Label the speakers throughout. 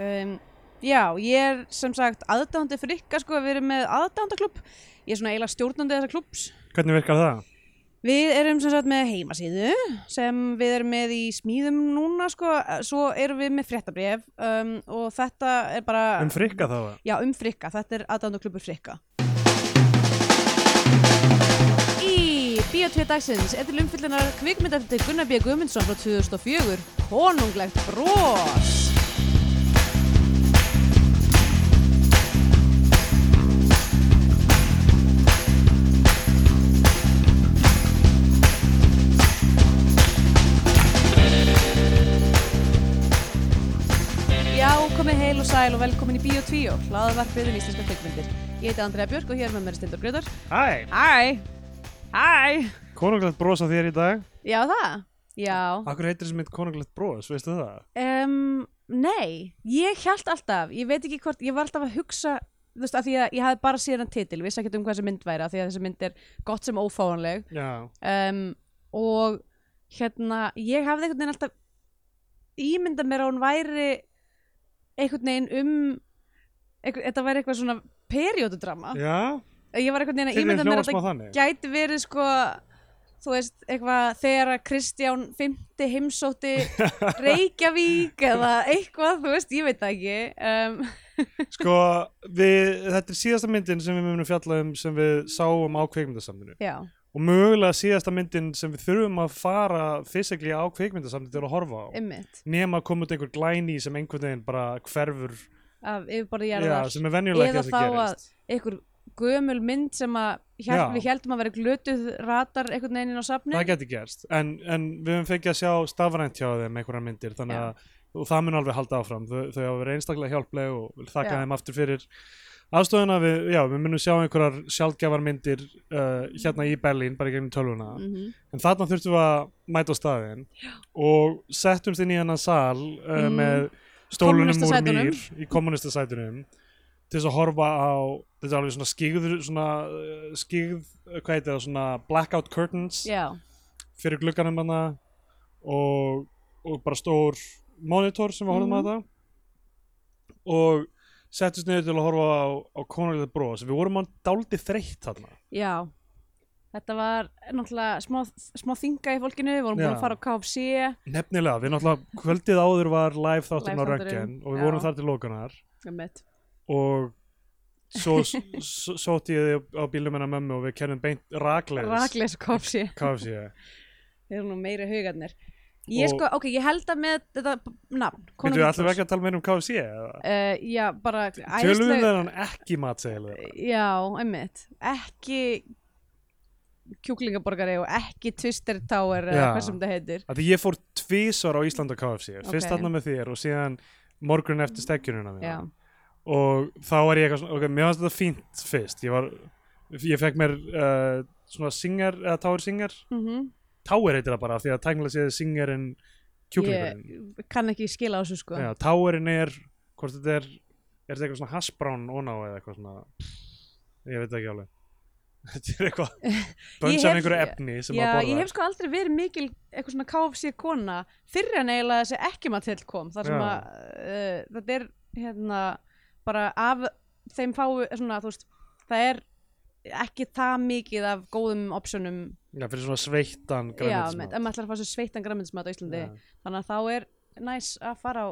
Speaker 1: um, já, ég er sem sagt aðdándi frikka sko, við erum með aðdándaklub ég er svona eiginlega stjórnandi þessa klubs
Speaker 2: Hvernig virkar það?
Speaker 1: við erum sem sagt með heimasíðu sem við erum með í smíðum núna sko, svo erum við með fréttabref um, og þetta er bara
Speaker 2: Um frikka þá það?
Speaker 1: já, um frikka, þetta er aðdándaklubur frikka Í Bíotvíð dagsins er til umfyllunar kvikmynd eftir Gunnar B. Guðmundsson frá 2004 Konunglegt brós Já, komið heil og sæl og velkomin í Bíotvíó, hlaðvarpið um íslenska kvikmyndir Ég heiti Andrea Björk og hér með mér er Stildur Grétar
Speaker 2: Æ,
Speaker 1: Hæ, hæ
Speaker 2: konunglegt bros á þér í dag
Speaker 1: Já, það, já
Speaker 2: Akkur heitir þessi mynd konunglegt bros, veistu það?
Speaker 1: um, Nei, ég held alltaf, ég veit ekki hvort, ég var alltaf að hugsa Þú veist, af því að ég hafði bara séð hann titil, vissi ekki um hvað þessi mynd væri af Því að þessi mynd er gott sem ófáanleg
Speaker 2: Já,
Speaker 1: um, Og hérna, ég hafði einhvern veginn alltaf ímyndað mér að hún væri einhvern veginn um einhver, Þetta væri eitthvað svona periododrama
Speaker 2: já,
Speaker 1: Ég var einhvern veginn að
Speaker 2: til
Speaker 1: ímynda
Speaker 2: þeim
Speaker 1: mér
Speaker 2: hljóma
Speaker 1: að
Speaker 2: smá
Speaker 1: þetta
Speaker 2: þannig
Speaker 1: gæti verið sko þú veist, eitthvað þegar að Kristján 5. heimsótti Reykjavík eða eitthvað, þú veist, ég veit það ekki um,
Speaker 2: Sko, við, þetta er síðasta myndin sem við munum fjalla um sem við sáum á kveikmyndasamninu
Speaker 1: Já,
Speaker 2: og mögulega síðasta myndin sem við þurfum að fara fysikli á kveikmyndasamninu til að horfa á
Speaker 1: ymmit
Speaker 2: nema að koma út einhver glæni sem einhvern veginn bara hverfur
Speaker 1: af yfirborði
Speaker 2: já,
Speaker 1: jarðar
Speaker 2: sem er venjulega
Speaker 1: eða
Speaker 2: ekki
Speaker 1: þá
Speaker 2: að
Speaker 1: að
Speaker 2: gerist
Speaker 1: einhver gömul mynd sem að hjæl,
Speaker 2: Já.
Speaker 1: við heldum að vera glötuð ratar einhvern veginn inn á safni
Speaker 2: það geti gerst en, en við höfum fengið að sjá stafrænt hjá þeim einhverjar myndir þannig
Speaker 1: Já.
Speaker 2: að og það mun alveg halda áfram þau, þau hafa verið einstaklega hjálpleg og vil þakka
Speaker 1: Já.
Speaker 2: þeim aftur fyrir aðstofuna við, já, við munum sjá einhverjar sjálfgjafar myndir uh, hérna í Berlín bara í gegnum tölvuna
Speaker 1: mm -hmm.
Speaker 2: en þarna þurftum við að mæta á staðin og settumst inn í hennan sal uh,
Speaker 1: Mm.
Speaker 2: með stólunum úr
Speaker 1: Kommúnistasætunum.
Speaker 2: mýr í kommunistasætunum til þess að horfa á þetta er alveg svona skýður svona uh, skýð, hvað heitir það, svona blackout curtains
Speaker 1: Já,
Speaker 2: fyrir glugganum hana og, og bara stór monitor sem við horfum
Speaker 1: Mhm.
Speaker 2: að þetta og settist niður til að horfa á, á konarlega bros við vorum á dáldi þreytt þarna
Speaker 1: já Þetta var náttúrulega smá, smá þinga í fólkinu, við vorum búin
Speaker 2: Já.
Speaker 1: að fara á KFC
Speaker 2: nefnilega, við náttúrulega kvöldið áður var live þátturinn á
Speaker 1: Live þátturinn,
Speaker 2: röngin og við
Speaker 1: já.
Speaker 2: vorum þar til lokanar
Speaker 1: Einmitt.
Speaker 2: og svo s- s- sótti ég þig á bílum hennar mömmu og við kennum beint rakleis
Speaker 1: Rakleis og KFC
Speaker 2: KFC
Speaker 1: Þeir eru nú meiri hugarnir. Ég
Speaker 2: Og-
Speaker 1: sko, ok, ég held að með þetta b- nafn,
Speaker 2: Við þú alltaf ekki um að tala meira um KFC eða?
Speaker 1: Uh, já, bara
Speaker 2: Tölum við
Speaker 1: æðisleg,
Speaker 2: þennan ekki matsegilega
Speaker 1: já, einmitt, ekki kjúklingaborgari og ekki Twister Tower eða
Speaker 2: Já.
Speaker 1: hvað sem það heitir.
Speaker 2: að því ég fór tvísvar á Ísland á KFC fyrst
Speaker 1: Ok.
Speaker 2: þarna með þér og síðan morgun eftir stekkjununa
Speaker 1: Já,
Speaker 2: mína og þá var ég eitthvað svona, ok, mér fannst þetta fínt fyrst ég var, ég fekk mér uh, svona singer, eða Tower Singer
Speaker 1: mm
Speaker 2: Tower heitir það bara, af því að tæknilega séð singerinn kjúklingurinn,
Speaker 1: ég kann ekki skila á þessu sko.
Speaker 2: já, Towerinn er hvort þetta er, er þetta eitthvað svona hasbrán óná eða eitthvað svona ég veit það ekki alveg þetta er eitthvað, bönns af
Speaker 1: hef-
Speaker 2: einhverju efni sem
Speaker 1: Já, ég
Speaker 2: maður borðar
Speaker 1: hef sko aldrei verið mikil eitthvað svona KFC kona fyrir en eiginlega þessi ekki maður til kom þar sem
Speaker 2: Já.
Speaker 1: að uh, þetta er hérna bara af þeim fáu eh, svona þú veist það er ekki það mikið af góðum optionum
Speaker 2: já, fyrir svona sveittan
Speaker 1: já,
Speaker 2: grænmetismat.
Speaker 1: með, ef maður ætlar að fá sér sveittan græmyndismat á Íslandi
Speaker 2: Já.
Speaker 1: þannig að þá er næs að fara á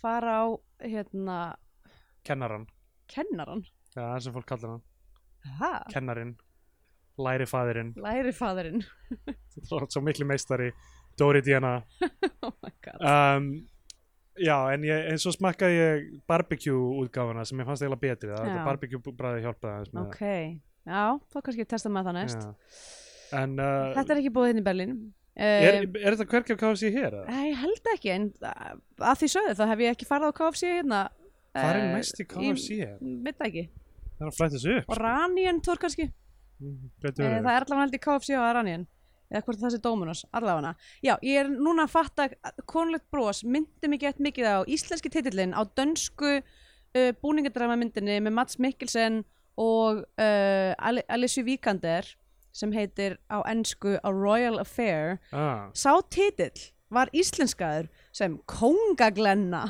Speaker 1: fara á hérna
Speaker 2: kennaran
Speaker 1: kennaran
Speaker 2: Já, það er sem fólk kallar hann.
Speaker 1: ha,
Speaker 2: Kennarin, lærifaðirinn,
Speaker 1: læri fadurinn
Speaker 2: svo miklu meistari, Dóri Diana.
Speaker 1: oh my god
Speaker 2: Um, já, en, ég, en svo smakkaði ég barbecue útgáfuna sem ég fannst eiginlega betri. Það
Speaker 1: Já.
Speaker 2: var barbecue bræði hjálpaði aðeins með
Speaker 1: ok, já, þá kannski testa maður það
Speaker 2: það.
Speaker 1: næst
Speaker 2: Já. En uh,
Speaker 1: Þetta er ekki búið hérna í Berlín
Speaker 2: er,
Speaker 1: uh,
Speaker 2: er þetta hvergi af KFC hér? eða?
Speaker 1: Ég held ekki en að að því sögðu þá hef ég ekki farið á KFC hérna
Speaker 2: Hvað er
Speaker 1: Eh,
Speaker 2: næst í KFC?
Speaker 1: Ég veit það ekki
Speaker 2: Það er að flæta þessu upp.
Speaker 1: Og Ranien tór kannski uh, eh,
Speaker 2: Getur
Speaker 1: Það
Speaker 2: verið.
Speaker 1: er allavega held í KFC og Ranien Eða hvort það sé Dominos, allavega Já, ég er núna að fatta að konulegt brós myndi mig gett mikið á íslenski titillin á dönsku uh, búningadrama myndinni með Mats Mikkelsen og uh, Ali- Alicia Vikander sem heitir á ennsku A Royal Affair
Speaker 2: Ah,
Speaker 1: Sá titill var íslenskaður sem Kongaglenna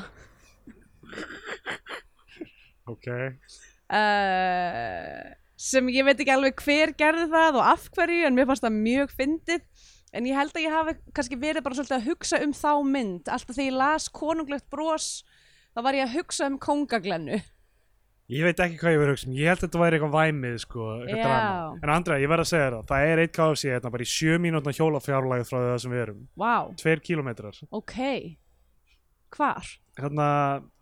Speaker 2: ok,
Speaker 1: uh, sem ég veit ekki alveg hver gerði það og af hverju en mér fannst það mjög fyndið en ég held að ég hafi kannski verið bara svolítið að hugsa um þá mynd alltaf þegar ég las konunglegt bros þá var ég að hugsa um kongaglennu
Speaker 2: ég veit ekki hvað ég verið að hugsa um. ég held að þetta væri eitthvað væmið sko, eitthvað
Speaker 1: Já.
Speaker 2: drama. en Andra, ég verð að segja þér það það er eitt KFC hérna bara í sjö mínútna hjólafjárlægð frá það sem við erum,
Speaker 1: Vá,
Speaker 2: tveir kílómetrar
Speaker 1: ok Hvar?
Speaker 2: hérna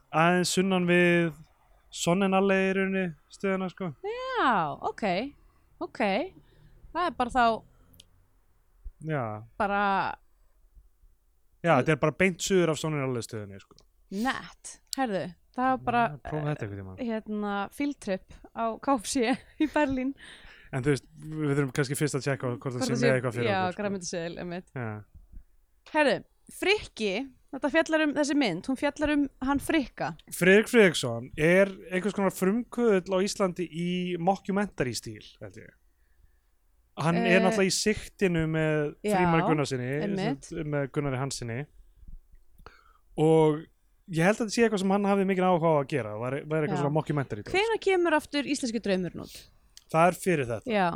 Speaker 2: aðeins sunnan við Sonnenalli í rauninni stöðuna sko
Speaker 1: Já, ok Ok Það er bara þá
Speaker 2: já,
Speaker 1: bara
Speaker 2: já þetta er bara beint suður af Sonnenalli stöðunni sko
Speaker 1: nett Herðu, það var bara
Speaker 2: Já, prófa þetta einhvern tímann
Speaker 1: hérna, field trip á KFC í Berlín
Speaker 2: en þú veist, við þurfum kannski fyrst að tjekka hvort það sé
Speaker 1: Hvort
Speaker 2: með eitthvað fyrir
Speaker 1: Já,
Speaker 2: okkur sko.
Speaker 1: græmyndiseðil, emitt
Speaker 2: já,
Speaker 1: Herðu, Frikki, þetta fjallar um þessi mynd, hún fjallar um hann Frikka.
Speaker 2: Friðrik Friðriksson er einhvers konar frumkvöðl á Íslandi í mockumentary stíl held ég hann
Speaker 1: Eh,
Speaker 2: er náttúrulega í siktinu með
Speaker 1: já,
Speaker 2: Frímar Gunnarsinni
Speaker 1: einmitt.
Speaker 2: sem- með Gunnari Hansinni og ég held að þetta sé eitthvað sem hann hafði mikið áhuga á að gera var, var eitthvað
Speaker 1: Já.
Speaker 2: svona mockumentary dót.
Speaker 1: Hvenær kemur aftur íslenski draumurinn út?
Speaker 2: það er fyrir þetta
Speaker 1: Já.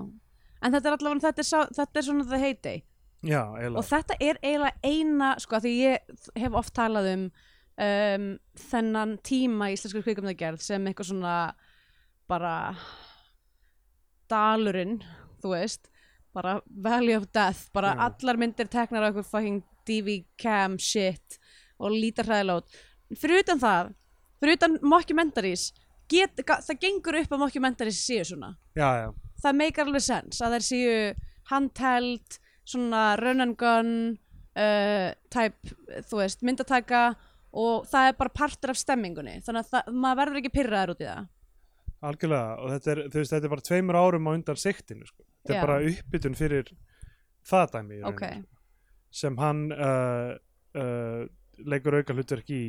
Speaker 1: En þetta er allavega, þetta er, sá, þetta er svona the heyday.
Speaker 2: já,
Speaker 1: Og
Speaker 2: eiginlega
Speaker 1: þetta er eiginlega eina, sko, af því ég hef oft talað um, um þennan tíma í íslensku kvikumdagerð sem eitthvað svona bara dalurinn, þú veist, bara value of death, bara
Speaker 2: Já.
Speaker 1: allar myndir teknar á eitthvað fucking DV cam shit og lítar hræðilót. Fyrir utan það, fyrir utan mockumentaries, get, ga- það gengur upp að mockumentaries séu svona
Speaker 2: já, já,
Speaker 1: það meikar alveg sens að þær séu handheld, svona run and gun uh, type, þú veist, myndataka og það er bara partur af stemmingunni þannig að það, maður verður ekki pyrraðar út í það
Speaker 2: algjörlega og þetta er, þú veist, þetta er bara tveimur árum á undan siktinu sko. þetta
Speaker 1: Já.
Speaker 2: er bara uppbytun fyrir það dæmi í rauninni,
Speaker 1: ok,
Speaker 2: sko. sem hann uh, uh, leikur auka hlutverk í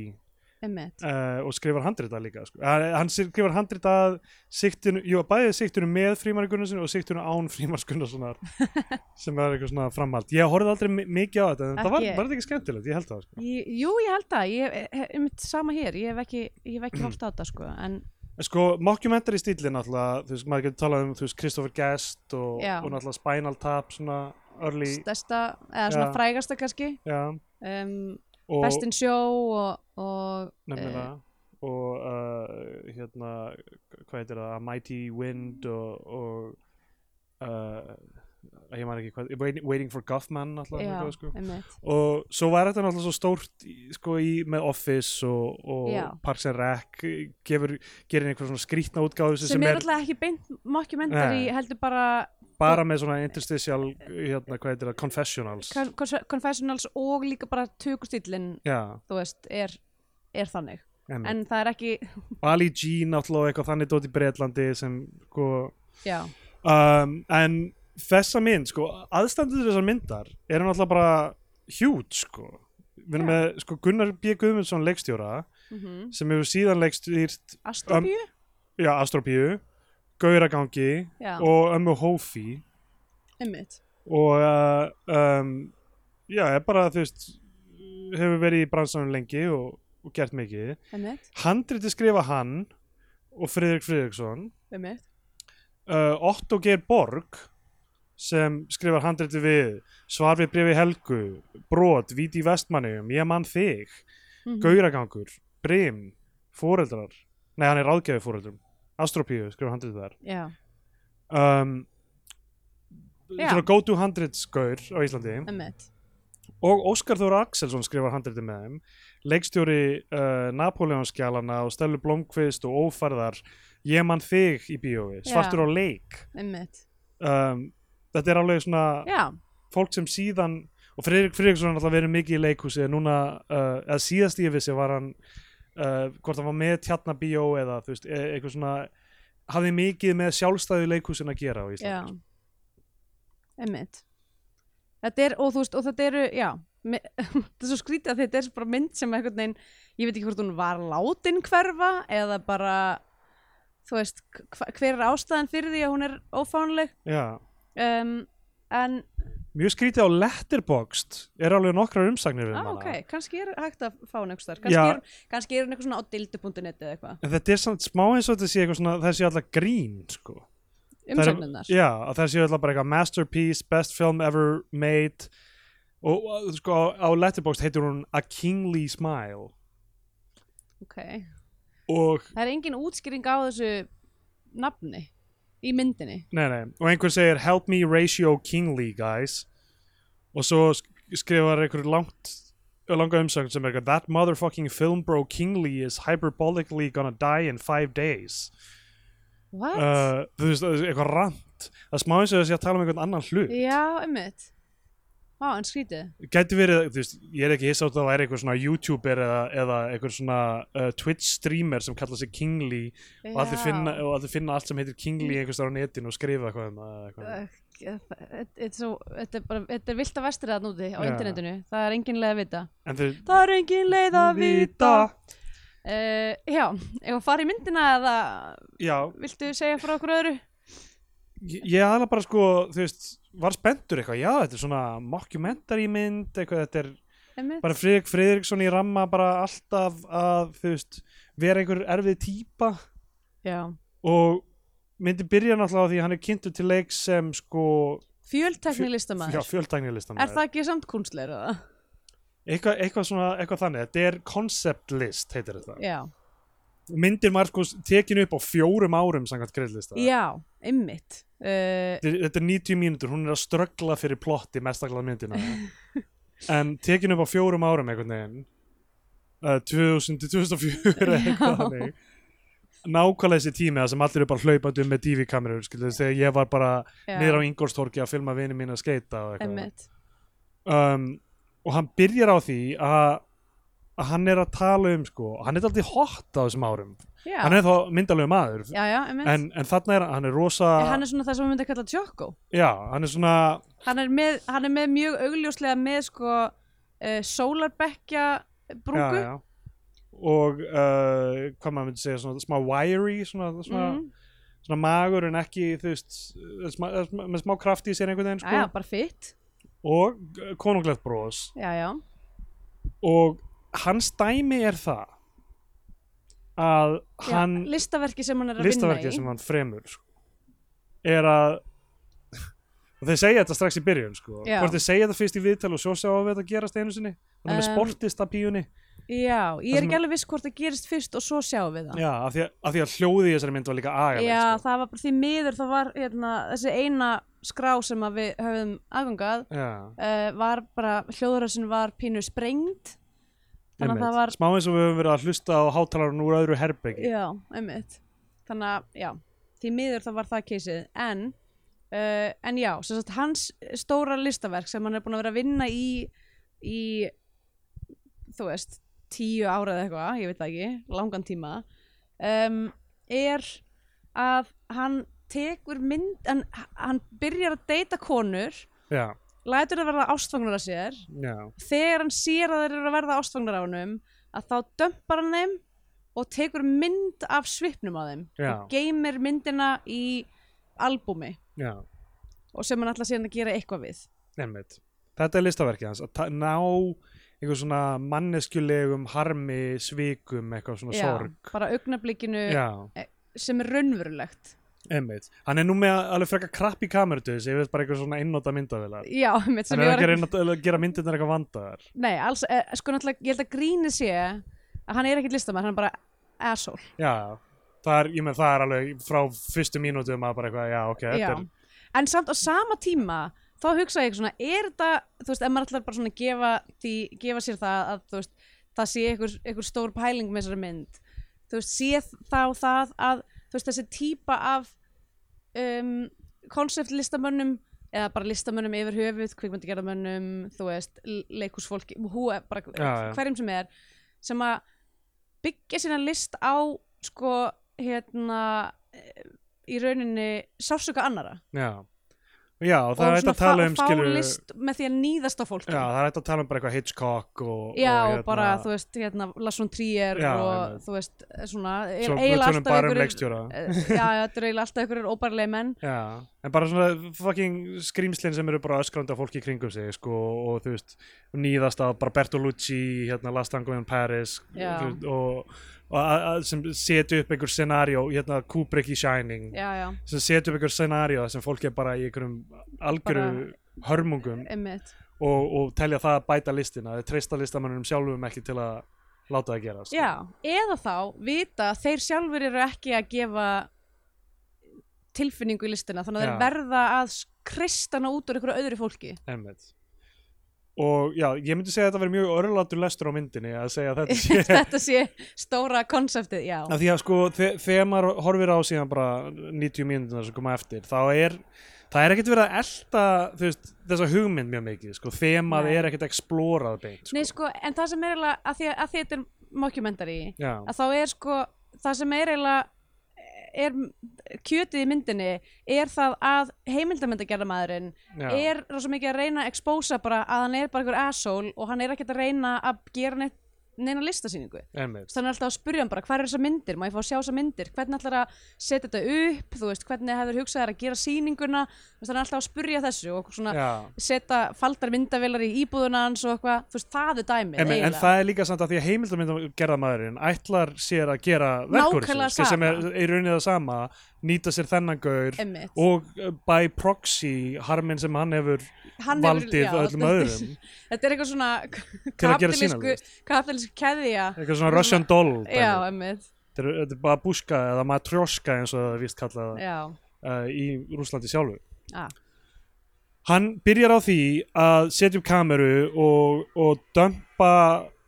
Speaker 1: einmitt
Speaker 2: uh, og skrifar handrita líka sko. hann hann skrifar handrita að siktinu, jú, bæði siktinu með Frímar Gunnarsson og siktinu án Frímar Gunnarssonar sem er eitthvað svona framhald ég horfði aldrei mi- mikið á þetta en það var,
Speaker 1: Ekki.
Speaker 2: var þetta ekki skemmtilegt, ég held það sko.
Speaker 1: Ég, jú, ég held það, ég hef- hef- einmitt sama hér, ég hef ekki, ég hef ekki hórt á þetta sko, en
Speaker 2: En sko, mockumentary stílinn alltaf, þú veist, maður getur talað um, þú veist, Christopher Guest og,
Speaker 1: Já.
Speaker 2: og náttúrulega Spinal Tap, svona early,
Speaker 1: stærsta, eða svona
Speaker 2: Já.
Speaker 1: frægasta kannski,
Speaker 2: já,
Speaker 1: um,
Speaker 2: og
Speaker 1: bestin sjó og, og
Speaker 2: nefnilega,
Speaker 1: Eh.
Speaker 2: og uh, hérna, hvað heitir það, A Mighty Wind og, og uh, ég maður ekki hvað, Waiting- Waiting for Guffman alltaf,
Speaker 1: já,
Speaker 2: eitthvað, sko.
Speaker 1: einmitt,
Speaker 2: og svo var þetta náttúrulega svo stórt í- sko í með Office og,
Speaker 1: Já.
Speaker 2: og Parks and Rec, gefur, gerir einhver svona skrýtna útgáðu
Speaker 1: sem, er alltaf ekki beint mockumentary,
Speaker 2: Nei.
Speaker 1: heldur bara
Speaker 2: bara með svona interstitial hérna, hvað heitir það, confessionals
Speaker 1: Con- cons- Confessionals og líka bara tökustillin
Speaker 2: já,
Speaker 1: þú veist, er, er þannig
Speaker 2: en,
Speaker 1: en það er ekki,
Speaker 2: Ali G náttúrulega og eitthvað þannig dót í Bretlandi sem sko,
Speaker 1: já,
Speaker 2: um, en þessa mynd, sko, aðstandur þessar myndar eru náttúrulega bara huge, sko við
Speaker 1: Já.
Speaker 2: erum með, sko, Gunnar B. Guðmundsson leikstjóra
Speaker 1: mm -hmm.
Speaker 2: sem hefur síðan leikstýrt
Speaker 1: Astropíu
Speaker 2: já, Astropíu, Gauragangi
Speaker 1: já,
Speaker 2: og Ömmu Hófi
Speaker 1: einmitt
Speaker 2: og uh, um, já, er bara þú veist hefur verið í bransanum lengi og, og gert mikið
Speaker 1: einmitt,
Speaker 2: handriti skrifa hann og Friðrik Friðriksson
Speaker 1: einmitt,
Speaker 2: uh, Otto Geir Borg sem skrifar handriti við svar við brefi Helgu brot, víti í vestmannum, ég mann þig
Speaker 1: Mhm.
Speaker 2: gauragangur, brim fóreldrar, nei hann er ráðgjafi fóreldrum, astropíu skrifar handriti þar
Speaker 1: já,
Speaker 2: um,
Speaker 1: Já.
Speaker 2: svona go to handrits gaur á Íslandi
Speaker 1: einmitt
Speaker 2: og Óskar Þóra Axelsson skrifar handriti með þeim leikstjóri uh, Napoleonskjalana og Stellu Blomqvist og Ófærðar Ég mann þig í bíói,
Speaker 1: Já.
Speaker 2: Svartur á leik
Speaker 1: einmitt,
Speaker 2: um, þetta er alveg svona
Speaker 1: já,
Speaker 2: fólk sem síðan og Friðrik Friðriksson er alltaf verið mikið í leikhúsi en núna, uh, eða síðast ég vissi var hann uh, hvort hann var með tjarnabíó eða þú veist, e- eitthvað svona hafði mikið með sjálfstæðu leikhúsin að gera á
Speaker 1: já
Speaker 2: Íslandi
Speaker 1: einmitt þetta er, og þú veist, og þetta eru, já me- þetta er svo skrítið að þetta er bara mynd sem einhvern veginn, ég veit ekki hvort hún var látin hverfa eða bara þú veist, hva- hver er ástæðan fyrir því að hún er ófánleg
Speaker 2: Já,
Speaker 1: um, en
Speaker 2: mjög skrítið á Letterboxd er alveg nokkrar umsagnir um
Speaker 1: Ah,
Speaker 2: hana.
Speaker 1: ok, kannski er hægt að fá hann einhvers þar
Speaker 2: Já.
Speaker 1: kannski, er- kannski er hann eitthvað svona á dildu.net eða eitthvað,
Speaker 2: en þetta er samt smá eins og þetta sé eitthvað svona þessi allar grín sko. Það eru-
Speaker 1: umsögnunar
Speaker 2: já, að þessi allar bara eitthvað masterpiece, best film ever made og uh, sko á Letterboxd heitir hún A Kingly Smile
Speaker 1: ok,
Speaker 2: og
Speaker 1: það er engin útskýring á þessu nafni í myndinni
Speaker 2: Nei, nei, og einhver segir help me ratio kingly guys og svo sk- skrifar einhver langt langa umsögn sem er eitthvað that motherfucking film bro kingly is hyperbolically gonna die in five days
Speaker 1: what?
Speaker 2: uh, þú veist, það er eitthvað rant það er smá eins og þess að tala um einhvern annan hlut
Speaker 1: já, einmitt Vá, en skrítið
Speaker 2: gæti verið, þú veist, ég er ekki hissa á þetta að það væri einhver svona youtuber eða, eða einhver svona uh, twitch streamer sem kallar sig kingly og allir,
Speaker 1: Já.
Speaker 2: finna, og allir finna allt sem heitir kingly einhvers þar á netinu og skrifa eitthvað um það eða eitthvað.
Speaker 1: Ugh, þetta þetta er svo- þetta er bara, þetta er vilt að vestir það núti á
Speaker 2: Já.
Speaker 1: internetinu, það er engin leið að vita
Speaker 2: en þeir
Speaker 1: það er engin leið að vita uh, já, ef að fara í myndina eða
Speaker 2: já,
Speaker 1: viltu segja frá okkur öðru
Speaker 2: ég ég aðla bara sko, þú veist, var spenntur eitthvað, já, þetta er svona mockumentary mynd, eitthvað, þetta er
Speaker 1: einmitt,
Speaker 2: bara Friðrik Friðriksson í ramma bara alltaf að, þú veist, vera einhver erfið típa
Speaker 1: já
Speaker 2: og myndi byrja náttúrulega á því að hann er kynntur til leik sem sko,
Speaker 1: fjöltekni
Speaker 2: já,
Speaker 1: listamaður,
Speaker 2: fjöldtæknilistan
Speaker 1: er það ekki samt kunstleir eða?
Speaker 2: eitthvað, eitthvað svona, eitthvað þannig, þetta er concept list, heitir þetta
Speaker 1: já,
Speaker 2: myndir var sko tekin upp á fjórum árum samkvæmt greiðlista
Speaker 1: já, einmitt uh,
Speaker 2: þetta er- þetta er 90 mínútur, hún er að ströggla fyrir plotti mestaklega myndina en tekin upp á fjórum árum einhvern veginn uh, 2000 til 2004 eða
Speaker 1: Já.
Speaker 2: eitthvað þannig. nákvæmlega þessi tími það sem allir eru bara hlaupandi um með DV-kamerur þegar ég var bara
Speaker 1: já,
Speaker 2: niður á Ingolstorki að filma vini mín að skeita og, eitthvað.
Speaker 1: einmitt
Speaker 2: um, og hann byrjar á því að, að hann er að tala um sko, hann er alltaf hot á þessum árum
Speaker 1: já,
Speaker 2: hann er þá myndalegu maður
Speaker 1: já, já, einmitt
Speaker 2: en, uh, en þarna er hann er rosa
Speaker 1: Eh, hann er svona það sem við myndum að kalla tjókó
Speaker 2: já, hann er svona
Speaker 1: hann er með, hann er með mjög augljóslega með sko uh, sólarbekja brúku
Speaker 2: já, já. og uh, hvað maður myndi segja svona smá wiry svona, svona,
Speaker 1: Mhm.
Speaker 2: svona magur en ekki þú veist eh, smá, smá- með smá kraft í sér einhvern veginn sko.
Speaker 1: Jæja, bara fytt
Speaker 2: og uh, konunglegt bros
Speaker 1: já, já.
Speaker 2: og hans dæmi er það að hann
Speaker 1: já, listaverki sem hann er að vinna í
Speaker 2: listaverkið sem hann fremur sko, er að og þeir segja þetta strax í byrjun sko.
Speaker 1: Já.
Speaker 2: hvort þeir segja þetta fyrst í viðtal og svo sjá að þetta gerast einu sinni þannig
Speaker 1: Um,
Speaker 2: með sportista bíunni
Speaker 1: já, ég er
Speaker 2: Það sem-
Speaker 1: ekki alveg viss hvort það gerist fyrst og svo sjáum við það
Speaker 2: já, af því að, af því að hljóði í þessari mynd var líka agalegt
Speaker 1: Já,
Speaker 2: sko.
Speaker 1: það var bara því miður það var hérna, þessi eina skrá sem að við höfum aðgangað
Speaker 2: Já,
Speaker 1: uh, var bara, hljóðurössin var pínu sprengd þannig að
Speaker 2: einmitt.
Speaker 1: það var
Speaker 2: smá eins og við höfum verið að hlusta á hátalarun úr öðru herbyggi
Speaker 1: Já, einmitt Þannig að, já, því miður það var það keysið En, uh, en já, sem sagt, hans stóra listaverk sem hann er búin að vera að vinna í í, þú veist tíu ára eða eitthvað, ég veit það ekki langan tíma um, er að hann tekur mynd, hann, hann byrjar að deyta konur
Speaker 2: já,
Speaker 1: lætur að verða ástfangnar að sér
Speaker 2: já,
Speaker 1: þegar hann sér að þeir eru að verða ástfangnar á honum að þá dömpar hann þeim og tekur mynd af svipnum á þeim
Speaker 2: Já.
Speaker 1: og geymir myndina í albúmi
Speaker 2: já,
Speaker 1: og sem hann ætla síðan að gera eitthvað við
Speaker 2: nefnit þetta er listaverkið hans, að ta- ná einhver svona manneskjulegum harmi, svikum, eitthvað svona sorg
Speaker 1: bara augnablikinu
Speaker 2: já,
Speaker 1: sem er raunverulegt
Speaker 2: einmitt hann er nú með alveg frekar krapp í kamerdu ég veist bara eitthvað svona einnóta myndavilar
Speaker 1: já, mitt sem
Speaker 2: hann er
Speaker 1: ég
Speaker 2: ekki að
Speaker 1: var
Speaker 2: reyna að að gera myndirnar eitthvað vandaðar
Speaker 1: nei, alls, e, sko náttúrulega, ég held að gríni sé að hann er ekkit listamæður, hann er bara asshole
Speaker 2: já, það er, ég menn það er alveg frá fyrstu mínútum að bara eitthvað, já, ok, þetta
Speaker 1: Já.
Speaker 2: er
Speaker 1: en samt á sama tíma þá hugsa ég svona, er þetta þú veist, ef maður ætlar bara svona að gefa, því, gefa sér það að þú veist, það sé einhver, einhver stór pæling með þessari mynd þú veist, sé þá það að þú veist, þessi típa af um, konseptlistamönnum eða bara listamönnum yfir höfuð kvikmyndagerðamönnum, þú veist leikusfólki, hú, bara
Speaker 2: Já, já.
Speaker 1: hverjum sem er sem að byggja sína list á sko, hérna eh, í rauninni sársöka annara
Speaker 2: Já, já, og það er hægt
Speaker 1: svona
Speaker 2: að tala
Speaker 1: fá-
Speaker 2: um
Speaker 1: fá
Speaker 2: skilur já,
Speaker 1: list með því að níðast á fólki
Speaker 2: það er hægt að tala um bara eitthvað Hitchcock og,
Speaker 1: Já,
Speaker 2: og,
Speaker 1: og bara, þú veist, hérna, Lasson Trier
Speaker 2: Já,
Speaker 1: og,
Speaker 2: einmitt.
Speaker 1: þú veist, svona,
Speaker 2: svo,
Speaker 1: eiginlega
Speaker 2: við tölum
Speaker 1: alltaf
Speaker 2: bara um
Speaker 1: einhverjir-
Speaker 2: leikstjóra
Speaker 1: Eh, Já, já, þetta eru eiginlega alltaf einhverjir óbærilegi menn
Speaker 2: Já, en bara svona fucking skrýmslin sem eru bara öskrandi á fólki í kringum sig sko, og þú veist, nýðast að bara Bertolucci, hérna Last Tango in Paris
Speaker 1: Já.
Speaker 2: þú veist, og, og að, að, sem setja upp einhver scenario hérna Kubrick í Shining
Speaker 1: Já, já,
Speaker 2: sem setja upp einhver scenario sem fólk er bara í einhverjum algjöru hörmungum
Speaker 1: einmitt
Speaker 2: og, og telja það að bæta listina, þeir treysta listamannunum sjálfum ekki til að láta það gera sko.
Speaker 1: Já, eða þá vita að þeir sjálfur eru ekki að gefa tilfinningu í listina þannig að
Speaker 2: Já.
Speaker 1: þeir verða að kristana út úr einhverju öðru fólki
Speaker 2: Einmitt. Og já, ég myndi segja að þetta verið mjög örlátur lestur á myndinni að segja að þetta sé
Speaker 1: Þetta sé stóra konseptið, já
Speaker 2: Af því að sko, þe- þegar maður horfir á síðan bara 90 mínútur sem koma eftir, þá er það er ekkert verið að elta þú veist, þessa hugmynd mjög mikið, sko, þemað
Speaker 1: Nei.
Speaker 2: er ekkert explorað beint, sko.
Speaker 1: Nei, sko, en það sem er eiginlega að því að, að því að þetta er mockumentary
Speaker 2: Já,
Speaker 1: að þá er sko, það sem er eiginlega er kjötið í myndinni er það að heimildamöndagerðamaðurinn
Speaker 2: já,
Speaker 1: er rosa mikið að reyna að expósa bara að hann er bara einhver asshole og hann er ekkert að reyna að gera neitt, neina listasýningu
Speaker 2: einmitt,
Speaker 1: þannig er alltaf að spyrja hann bara hvað eru þessar myndir, má ég fá að sjá þessar myndir hvernig ætlar að setja þetta upp þú veist, hvernig hefur hugsað þær að gera sýninguna þannig er alltaf að spyrja þessu og svona
Speaker 2: já.
Speaker 1: setja faldar myndavélar í íbúðuna hans og eitthvað, þú veist, það er dæmið
Speaker 2: Einmitt, en
Speaker 1: eiginlega.
Speaker 2: það er líka samt að því að heimildamindum gerðamaðurinn ætlar sér að gera verkur
Speaker 1: Nákvæmlega
Speaker 2: sko, sem er,
Speaker 1: sama.
Speaker 2: er unnið að sama, nýta sér þennan gaur
Speaker 1: Einmitt.
Speaker 2: og uh, by proxy harminn sem hann hefur
Speaker 1: Hann hefur-
Speaker 2: valdið
Speaker 1: já,
Speaker 2: öllum
Speaker 1: þetta-
Speaker 2: öðrum
Speaker 1: þetta er eitthvað svona
Speaker 2: til að gera sína
Speaker 1: kapitalísku
Speaker 2: list.
Speaker 1: kapitalísku keðja
Speaker 2: eitthvað svona Russian doll dæmi.
Speaker 1: já, emmitt,
Speaker 2: Þetta er, þetta er bara búska eða matrjóska eins og það er víst kallað
Speaker 1: já,
Speaker 2: uh, í Rúslandi sjálfu.
Speaker 1: ah,
Speaker 2: Hann byrjar á því að setja upp kameru og, og dömpa,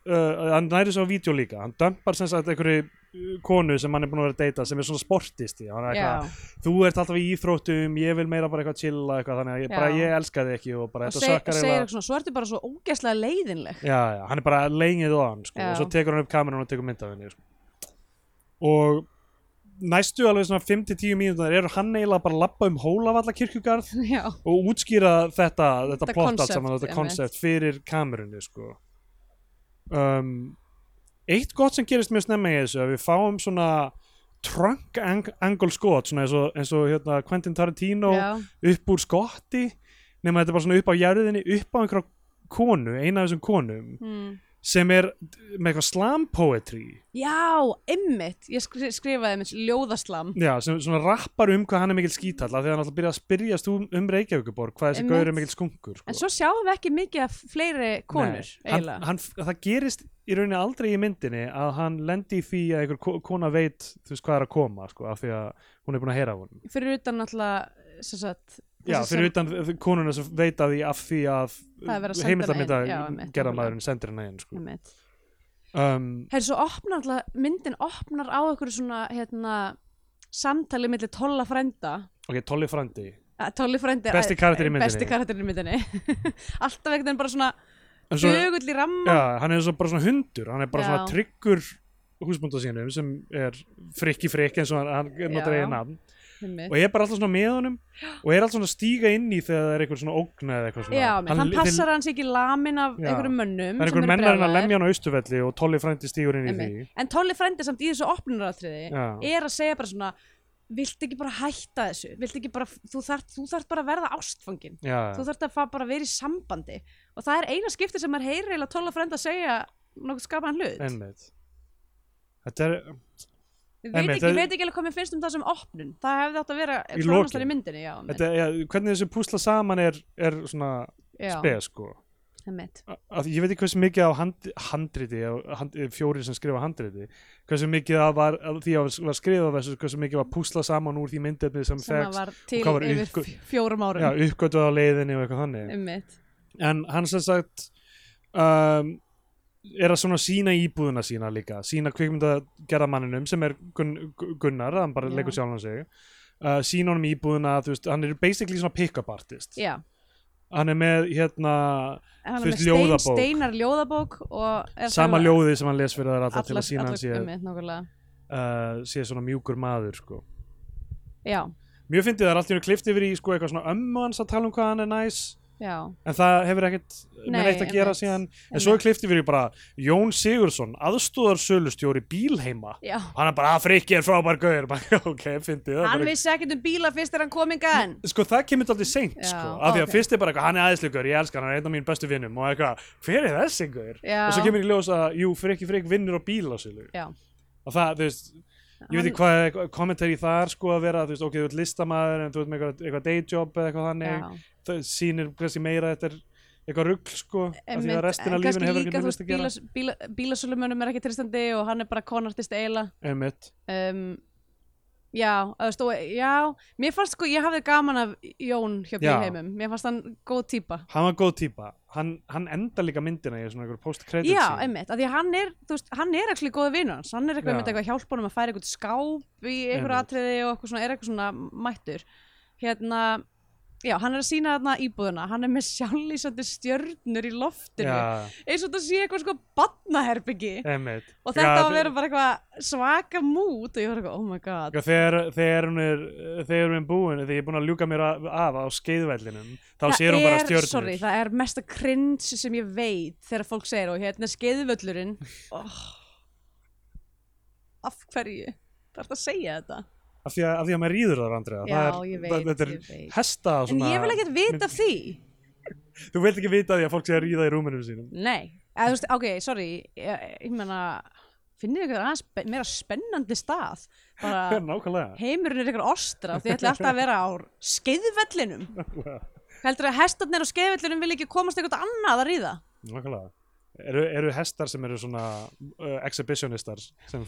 Speaker 2: uh, hann næri svo á vídeo líka, hann dömpar sem sagt einhverju uh, konu sem hann er búin að vera að deyta sem er svona sportisti, hann er
Speaker 1: já
Speaker 2: eitthvað, þú ert alltaf í íþróttum, ég vil meira bara eitthvað chilla eitthvað, þannig að ég, bara
Speaker 1: Já.
Speaker 2: ég elska þig ekki og bara
Speaker 1: og
Speaker 2: þetta
Speaker 1: seg, segir
Speaker 2: sökkar eiginlega-
Speaker 1: eitthvað svona, svo ertu bara svo ógeðslega leiðinleg
Speaker 2: já, já, hann er bara lengið á hann sko,
Speaker 1: Já.
Speaker 2: og svo tekur hann upp kamerun og tekur mynd af henni sko. og næstu alveg svona 5-10 mínútur eru hann eiginlega bara að labba um hólavalla kirkjugarð
Speaker 1: já,
Speaker 2: og útskýra þetta, þetta
Speaker 1: Þetta
Speaker 2: plott allt
Speaker 1: concept,
Speaker 2: saman, þetta
Speaker 1: einmitt.
Speaker 2: koncept fyrir kamerunni sko. um, eitt gott sem gerist mjög snemma í þessu að við fáum svona trunk ang angle skot svona eins og, eins og hérna, Quentin Tarantino
Speaker 1: já,
Speaker 2: upp úr skotti nema þetta er bara svona upp á jörðinni upp á einhverja konu, eina af þessum konum
Speaker 1: mm.
Speaker 2: sem er með eitthvað slam poetry
Speaker 1: já emmitt ég skri- skrifaði einmitt ljóðaslam
Speaker 2: já, sem svona rappar um hvað hann er mikil skítall af því að hann alltaf byrja að spyrjast um, um Reykjavíkuborg hvað þessi
Speaker 1: Einmitt.
Speaker 2: gaur er mikil skunkur sko.
Speaker 1: en svo sjáum við ekki mikið af fleiri konur
Speaker 2: Nei, hann,
Speaker 1: eiginlega
Speaker 2: hann, það gerist í rauninni aldrei í myndinni að hann lendi í því að einhver ko- kona veit þú veist hvað er að koma sko, af því að hún er búin að heyra af hún
Speaker 1: fyrir utan náttúrulega sem sagt,
Speaker 2: já,
Speaker 1: þessi sem-
Speaker 2: fyrir utan þ- konuna sem veit að því af því að
Speaker 1: Það er verið að senda hana inn,
Speaker 2: heimildamita
Speaker 1: já, einmitt, Mm.
Speaker 2: gerða maðurinn sendir henni inn sko.
Speaker 1: einmitt.
Speaker 2: um,
Speaker 1: Herri, svo opnar alltaf, myndin opnar á einhverju svona, hérna, samtali millir tolla frænda.
Speaker 2: ok, Tolli Frandi
Speaker 1: Eh, Tolli frændi er
Speaker 2: Besti karakter í myndinni.
Speaker 1: Besti karakter í myndinni. alltaf einhvern veginn bara svona
Speaker 2: En svo-
Speaker 1: dögull í ramma.
Speaker 2: Já, hann er svo bara svona hundur hann er bara
Speaker 1: Já.
Speaker 2: svona tryggur húsbúnda sínum sem er frikki frikki eins og hann, hann notar
Speaker 1: Já.
Speaker 2: eigin nafn
Speaker 1: Einmitt.
Speaker 2: og ég er bara alltaf svona með honum og er alltaf svona að stíga inn í þegar það er eitthvað svona ógna eða eitthvað svona
Speaker 1: Já, hann, hann
Speaker 2: þeir-
Speaker 1: passar hans ekki lamin af
Speaker 2: Já.
Speaker 1: einhverjum mönnum
Speaker 2: það er
Speaker 1: sem eru
Speaker 2: einhver mennar hann að
Speaker 1: brjálaðir.
Speaker 2: lemja hann á austuvelli og Tolli frændi stígur inn í því
Speaker 1: Einmitt. En Tolli frændi samt í þessu opnunaratriði
Speaker 2: Já.
Speaker 1: er að segja bara svona Viltu ekki bara hætta þessu? Viltu ekki bara, þú þarft, þú þarft bara að verða ástfangin
Speaker 2: já,
Speaker 1: þú þarft að fara bara að vera í sambandi og það er eina skipti sem maður heyrir eiginlega Tolla frænda að segja nokkuð skapaðan hlut
Speaker 2: einmitt þetta er,
Speaker 1: ég veit,
Speaker 2: einmitt,
Speaker 1: ekki,
Speaker 2: það-
Speaker 1: ég veit ekki alveg hvað mér finnst um það sem opnun það hefði átt að vera
Speaker 2: Í
Speaker 1: klárast
Speaker 2: lokin.
Speaker 1: þar í myndinni já, einmitt.
Speaker 2: þetta, ja, hvernig þessu púsla saman er, er svona
Speaker 1: já,
Speaker 2: spes sko
Speaker 1: einmitt.
Speaker 2: A- að ég veit ekki hversu mikið af hand, handriti, af hand, fjóri sem skrifa handriti hversu mikið af var, af því að var skrifað versus hversu mikið var púsla saman úr því myndefni sem,
Speaker 1: sem að
Speaker 2: fegst
Speaker 1: var til
Speaker 2: hvað var
Speaker 1: yfir
Speaker 2: uppgö-
Speaker 1: fj- fjórum árum
Speaker 2: já, uppgötuð á leiðinni og eitthvað þannig
Speaker 1: einmitt,
Speaker 2: en hann sem sagt um, er að svona sína íbúðuna sína líka, sína kvikmyndagerðamanninum sem er Gun Gunnar hann bara
Speaker 1: Já.
Speaker 2: leikur sjálfan sig uh, sína honum íbúðuna, þú veist, hann er basically svona pick-up artist
Speaker 1: já
Speaker 2: hann er með hérna
Speaker 1: En hann
Speaker 2: Þú
Speaker 1: er
Speaker 2: veist,
Speaker 1: með stein,
Speaker 2: ljóðabók.
Speaker 1: steinar ljóðabók og er að
Speaker 2: sama
Speaker 1: skrifa
Speaker 2: ljóðið sem hann les fyrir þær alla til
Speaker 1: allar-
Speaker 2: að sína hann
Speaker 1: allar-
Speaker 2: sé,
Speaker 1: einmitt, nákvæmlega.
Speaker 2: uh, sé svona mjúkur maður sko.
Speaker 1: já,
Speaker 2: mjög fyndið það er allt í hennu klift yfir í sko eitthvað svona ömmu hans að tala um hvað hann er næs
Speaker 1: já,
Speaker 2: en það hefur ekkert
Speaker 1: Nei,
Speaker 2: með neitt að gera
Speaker 1: einmitt.
Speaker 2: síðan en
Speaker 1: Einmitt.
Speaker 2: svo er klift yfir í bara Jón Sigursson aðstóðarsölustjóri bílheima
Speaker 1: já.
Speaker 2: hann er bara að frikki er frábær gauður Bara, ok, fyndið það er
Speaker 1: Hann
Speaker 2: bara-
Speaker 1: vissi ekkert um bíla fyrst þegar hann kom ingan
Speaker 2: sko það kemur alltaf seint
Speaker 1: Já,
Speaker 2: sko, af því að
Speaker 1: ok.
Speaker 2: fyrst er bara eitthvað, hann er aðeinslegur ég elskar hann, hann er einn af mín bestu vinnum og eitthvað, hver er þessi ykkur
Speaker 1: Já.
Speaker 2: og svo kemur í ljós að, jú, frikki frik vinnur á bílásölu
Speaker 1: Já,
Speaker 2: og það, þú veist, ég veit
Speaker 1: Hann-
Speaker 2: ekki hvað kommentari þar sko að vera, þú veist, ok, þú ert listamaður en þú ert með eitthvað, eitthvað dayjob eða eitthvað þannig
Speaker 1: já.
Speaker 2: það sýnir kannski meira að þetta er eitthvað rugl sko, af því
Speaker 1: Einmitt,
Speaker 2: að restin
Speaker 1: en
Speaker 2: af lífinu
Speaker 1: kannski
Speaker 2: hefur
Speaker 1: líka,
Speaker 2: ekki
Speaker 1: þú
Speaker 2: nefnist
Speaker 1: veist,
Speaker 2: að gera
Speaker 1: bílas- bíla- Bílasölumönnum er ekki tristandi og hann er bara konartist eila
Speaker 2: einmitt,
Speaker 1: um, Já, eða stó, já, mér fannst sko, ég hafði gaman af Jón hjá
Speaker 2: Já.
Speaker 1: bílheimum, mér fannst hann góð típa
Speaker 2: hann var góð típa hann, hann enda líka myndina í svona einhver post-credit
Speaker 1: Já,
Speaker 2: scene.
Speaker 1: einmitt, af því að hann er, þú veist, hann er ekki góða vinur hans, hann er eitthvað
Speaker 2: Já.
Speaker 1: einmitt eitthvað að hjálpa honum að færa eitthvað skáp í einhver
Speaker 2: Einmitt.
Speaker 1: atriði og eitthvað svona, er eitthvað svona mættur hérna, já, hann er að sína þarna íbúðuna, hann er með sjálflýsandi stjörnur í loftinu
Speaker 2: Já,
Speaker 1: eins og þetta sé eitthvað sko badnaherbyggi
Speaker 2: einmitt.
Speaker 1: og þetta
Speaker 2: Já,
Speaker 1: á að vera bara eitthvað svaka mút og ég var eitthvað, oh my god
Speaker 2: Já, þegar, þegar hún er þegar hún er búin, þegar ég er búin að ljúka mér af, af á skeiðvellinum, þá sér hún bara stjörnur
Speaker 1: sorry, það er mesta cringe sem ég veit þegar fólk segir og hérna skeiðvöllurinn oh. af hverju þarf það að segja þetta
Speaker 2: af, því að, af því að maður rýður þar Andrea
Speaker 1: Já,
Speaker 2: það er,
Speaker 1: ég veit,
Speaker 2: það- þetta er
Speaker 1: ég veit.
Speaker 2: hesta og
Speaker 1: en
Speaker 2: svona,
Speaker 1: ég vil ekkert vita af því
Speaker 2: þú vilt ekki vita af því að fólk sé að rýða í rúminum sínum
Speaker 1: nei, eða þú veist, ok, sorry ég, ég meina, finnir eitthvað aðeins spe- meira spennandi stað bara
Speaker 2: nákvæmlega
Speaker 1: heimurinn er eitthvað ostra því ætla alltaf að vera á skeiðvellinum heldur að hestarnir á skeiðvellinum vil ekki komast eitthvað annað að ríða
Speaker 2: nákvæmlega eru, eru hestar sem eru svona uh, exhibitionistar sem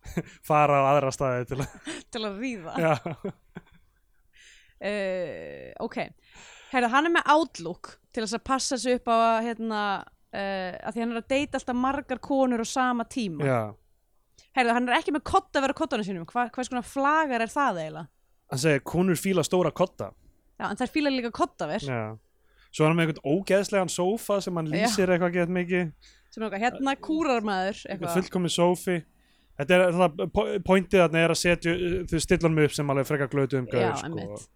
Speaker 2: fara á aðra staði til að
Speaker 1: til að ríða
Speaker 2: já,
Speaker 1: uh, ok Herra, hann er með outlook til þess að passa sig upp á að, hérna, uh, að því hann er að deyta alltaf margar konur á sama tíma
Speaker 2: já.
Speaker 1: Herra, hann er ekki með kotta að vera kottanum sínum Hva, hvað skona flagar er það eiginlega
Speaker 2: hann segir konur fíla stóra kotta
Speaker 1: Já, en þær fíla líka kottaver
Speaker 2: já. svo er hann með einhvern ógeðslegan sófa sem hann
Speaker 1: Já.
Speaker 2: lýsir eitthvað gett mikið
Speaker 1: sem er okkar, hérna kúrar maður
Speaker 2: eitthvað
Speaker 1: eitthvað.
Speaker 2: fullkomin sófi þetta er það pointið þarna er að setja uh, þau stillan mig upp sem alveg frekar glötu um
Speaker 1: Já,
Speaker 2: gauð sko.
Speaker 1: einmitt.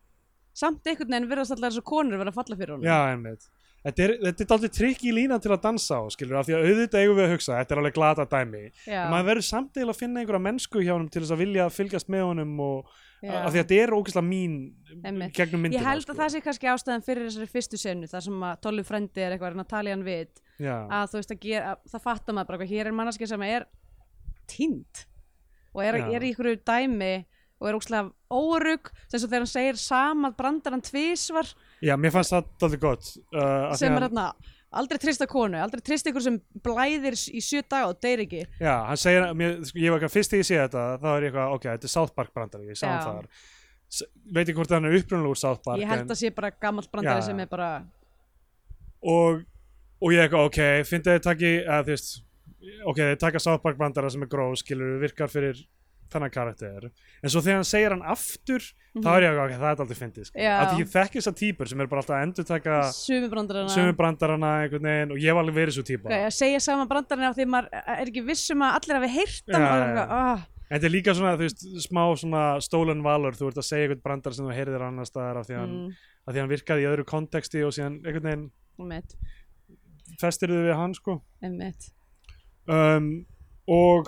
Speaker 1: samt einhvern veginn verðast alltaf þessar konur vera að falla fyrir honum
Speaker 2: já, einmitt þetta er, þetta er aldrei trikk í lína til að dansa á skilur, af því að auðvitað eigum við að hugsa þetta er alveg glata dæmi,
Speaker 1: Já,
Speaker 2: en maður verður samt eiginlega að finna einhverja mennsku hjá honum til þess að vilja fylgjast með honum og
Speaker 1: já.
Speaker 2: af því að þetta er ógeðslega mín
Speaker 1: Einmitt.
Speaker 2: gegnum myndina sko.
Speaker 1: ég held að það sé kannski ástæðan fyrir þessari fyrstu senu þar sem að Tollu frendi er eitthvað að reyna að tala í hann við
Speaker 2: sé já,
Speaker 1: að þú veist að gera, að, það fattar maður bara hvað hér er manneskja sem er tínd og er,
Speaker 2: Já.
Speaker 1: er í einhverju dæmi og er ókslega órug sem svo þegar hann segir sama brandar hann tvísvar
Speaker 2: já, mér fannst það aldrei gott uh, af því
Speaker 1: sem
Speaker 2: að-
Speaker 1: er þarna aldrei trista konu, aldrei trista ykkur sem blæðir s- í sjö daga og deyr ekki
Speaker 2: Já, hann segir, mér, sko, ég var eitthvað fyrst þegar ég sé þetta þá er ég eitthvað, ok, þetta er South Park brandari ég sá hann
Speaker 1: Já.
Speaker 2: þar S veit ekki hvort hann er upprunalega úr South Park
Speaker 1: ég held
Speaker 2: en,
Speaker 1: að sé bara gammalt brandari
Speaker 2: Já,
Speaker 1: sem
Speaker 2: já.
Speaker 1: er bara
Speaker 2: og, og ég eitthvað, ok, finnst þið takki að þú veist, ok, þið taka South Park brandara sem er gróð, skilur, virkar fyrir þennan karakter, en svo þegar hann segir hann aftur, þá er ég eitthvað, ok, það er aldrei fyndið, sko,
Speaker 1: Mhm. Já.
Speaker 2: að ég þekki þessar típur sem er bara alltaf að endurtaka
Speaker 1: sumi brandarana
Speaker 2: sömu brandarana einhvern veginn og ég var alveg verið svo típa
Speaker 1: að segja sama brandarana af því maður er ekki viss um að allir hafi heyrt hann og
Speaker 2: Já, já,
Speaker 1: er
Speaker 2: já.
Speaker 1: eitthvað, ah,
Speaker 2: En þetta er líka svona, þú veist, smá svona stólan valur, þú ert að segja eitthvað brandar sem þú heyrðir annars staðar af því hann,
Speaker 1: Mm.
Speaker 2: af því hann virkaði í öðru konteksti og síðan einhvern veginn
Speaker 1: einmitt,
Speaker 2: festir þau við hann sko
Speaker 1: einmitt
Speaker 2: um, og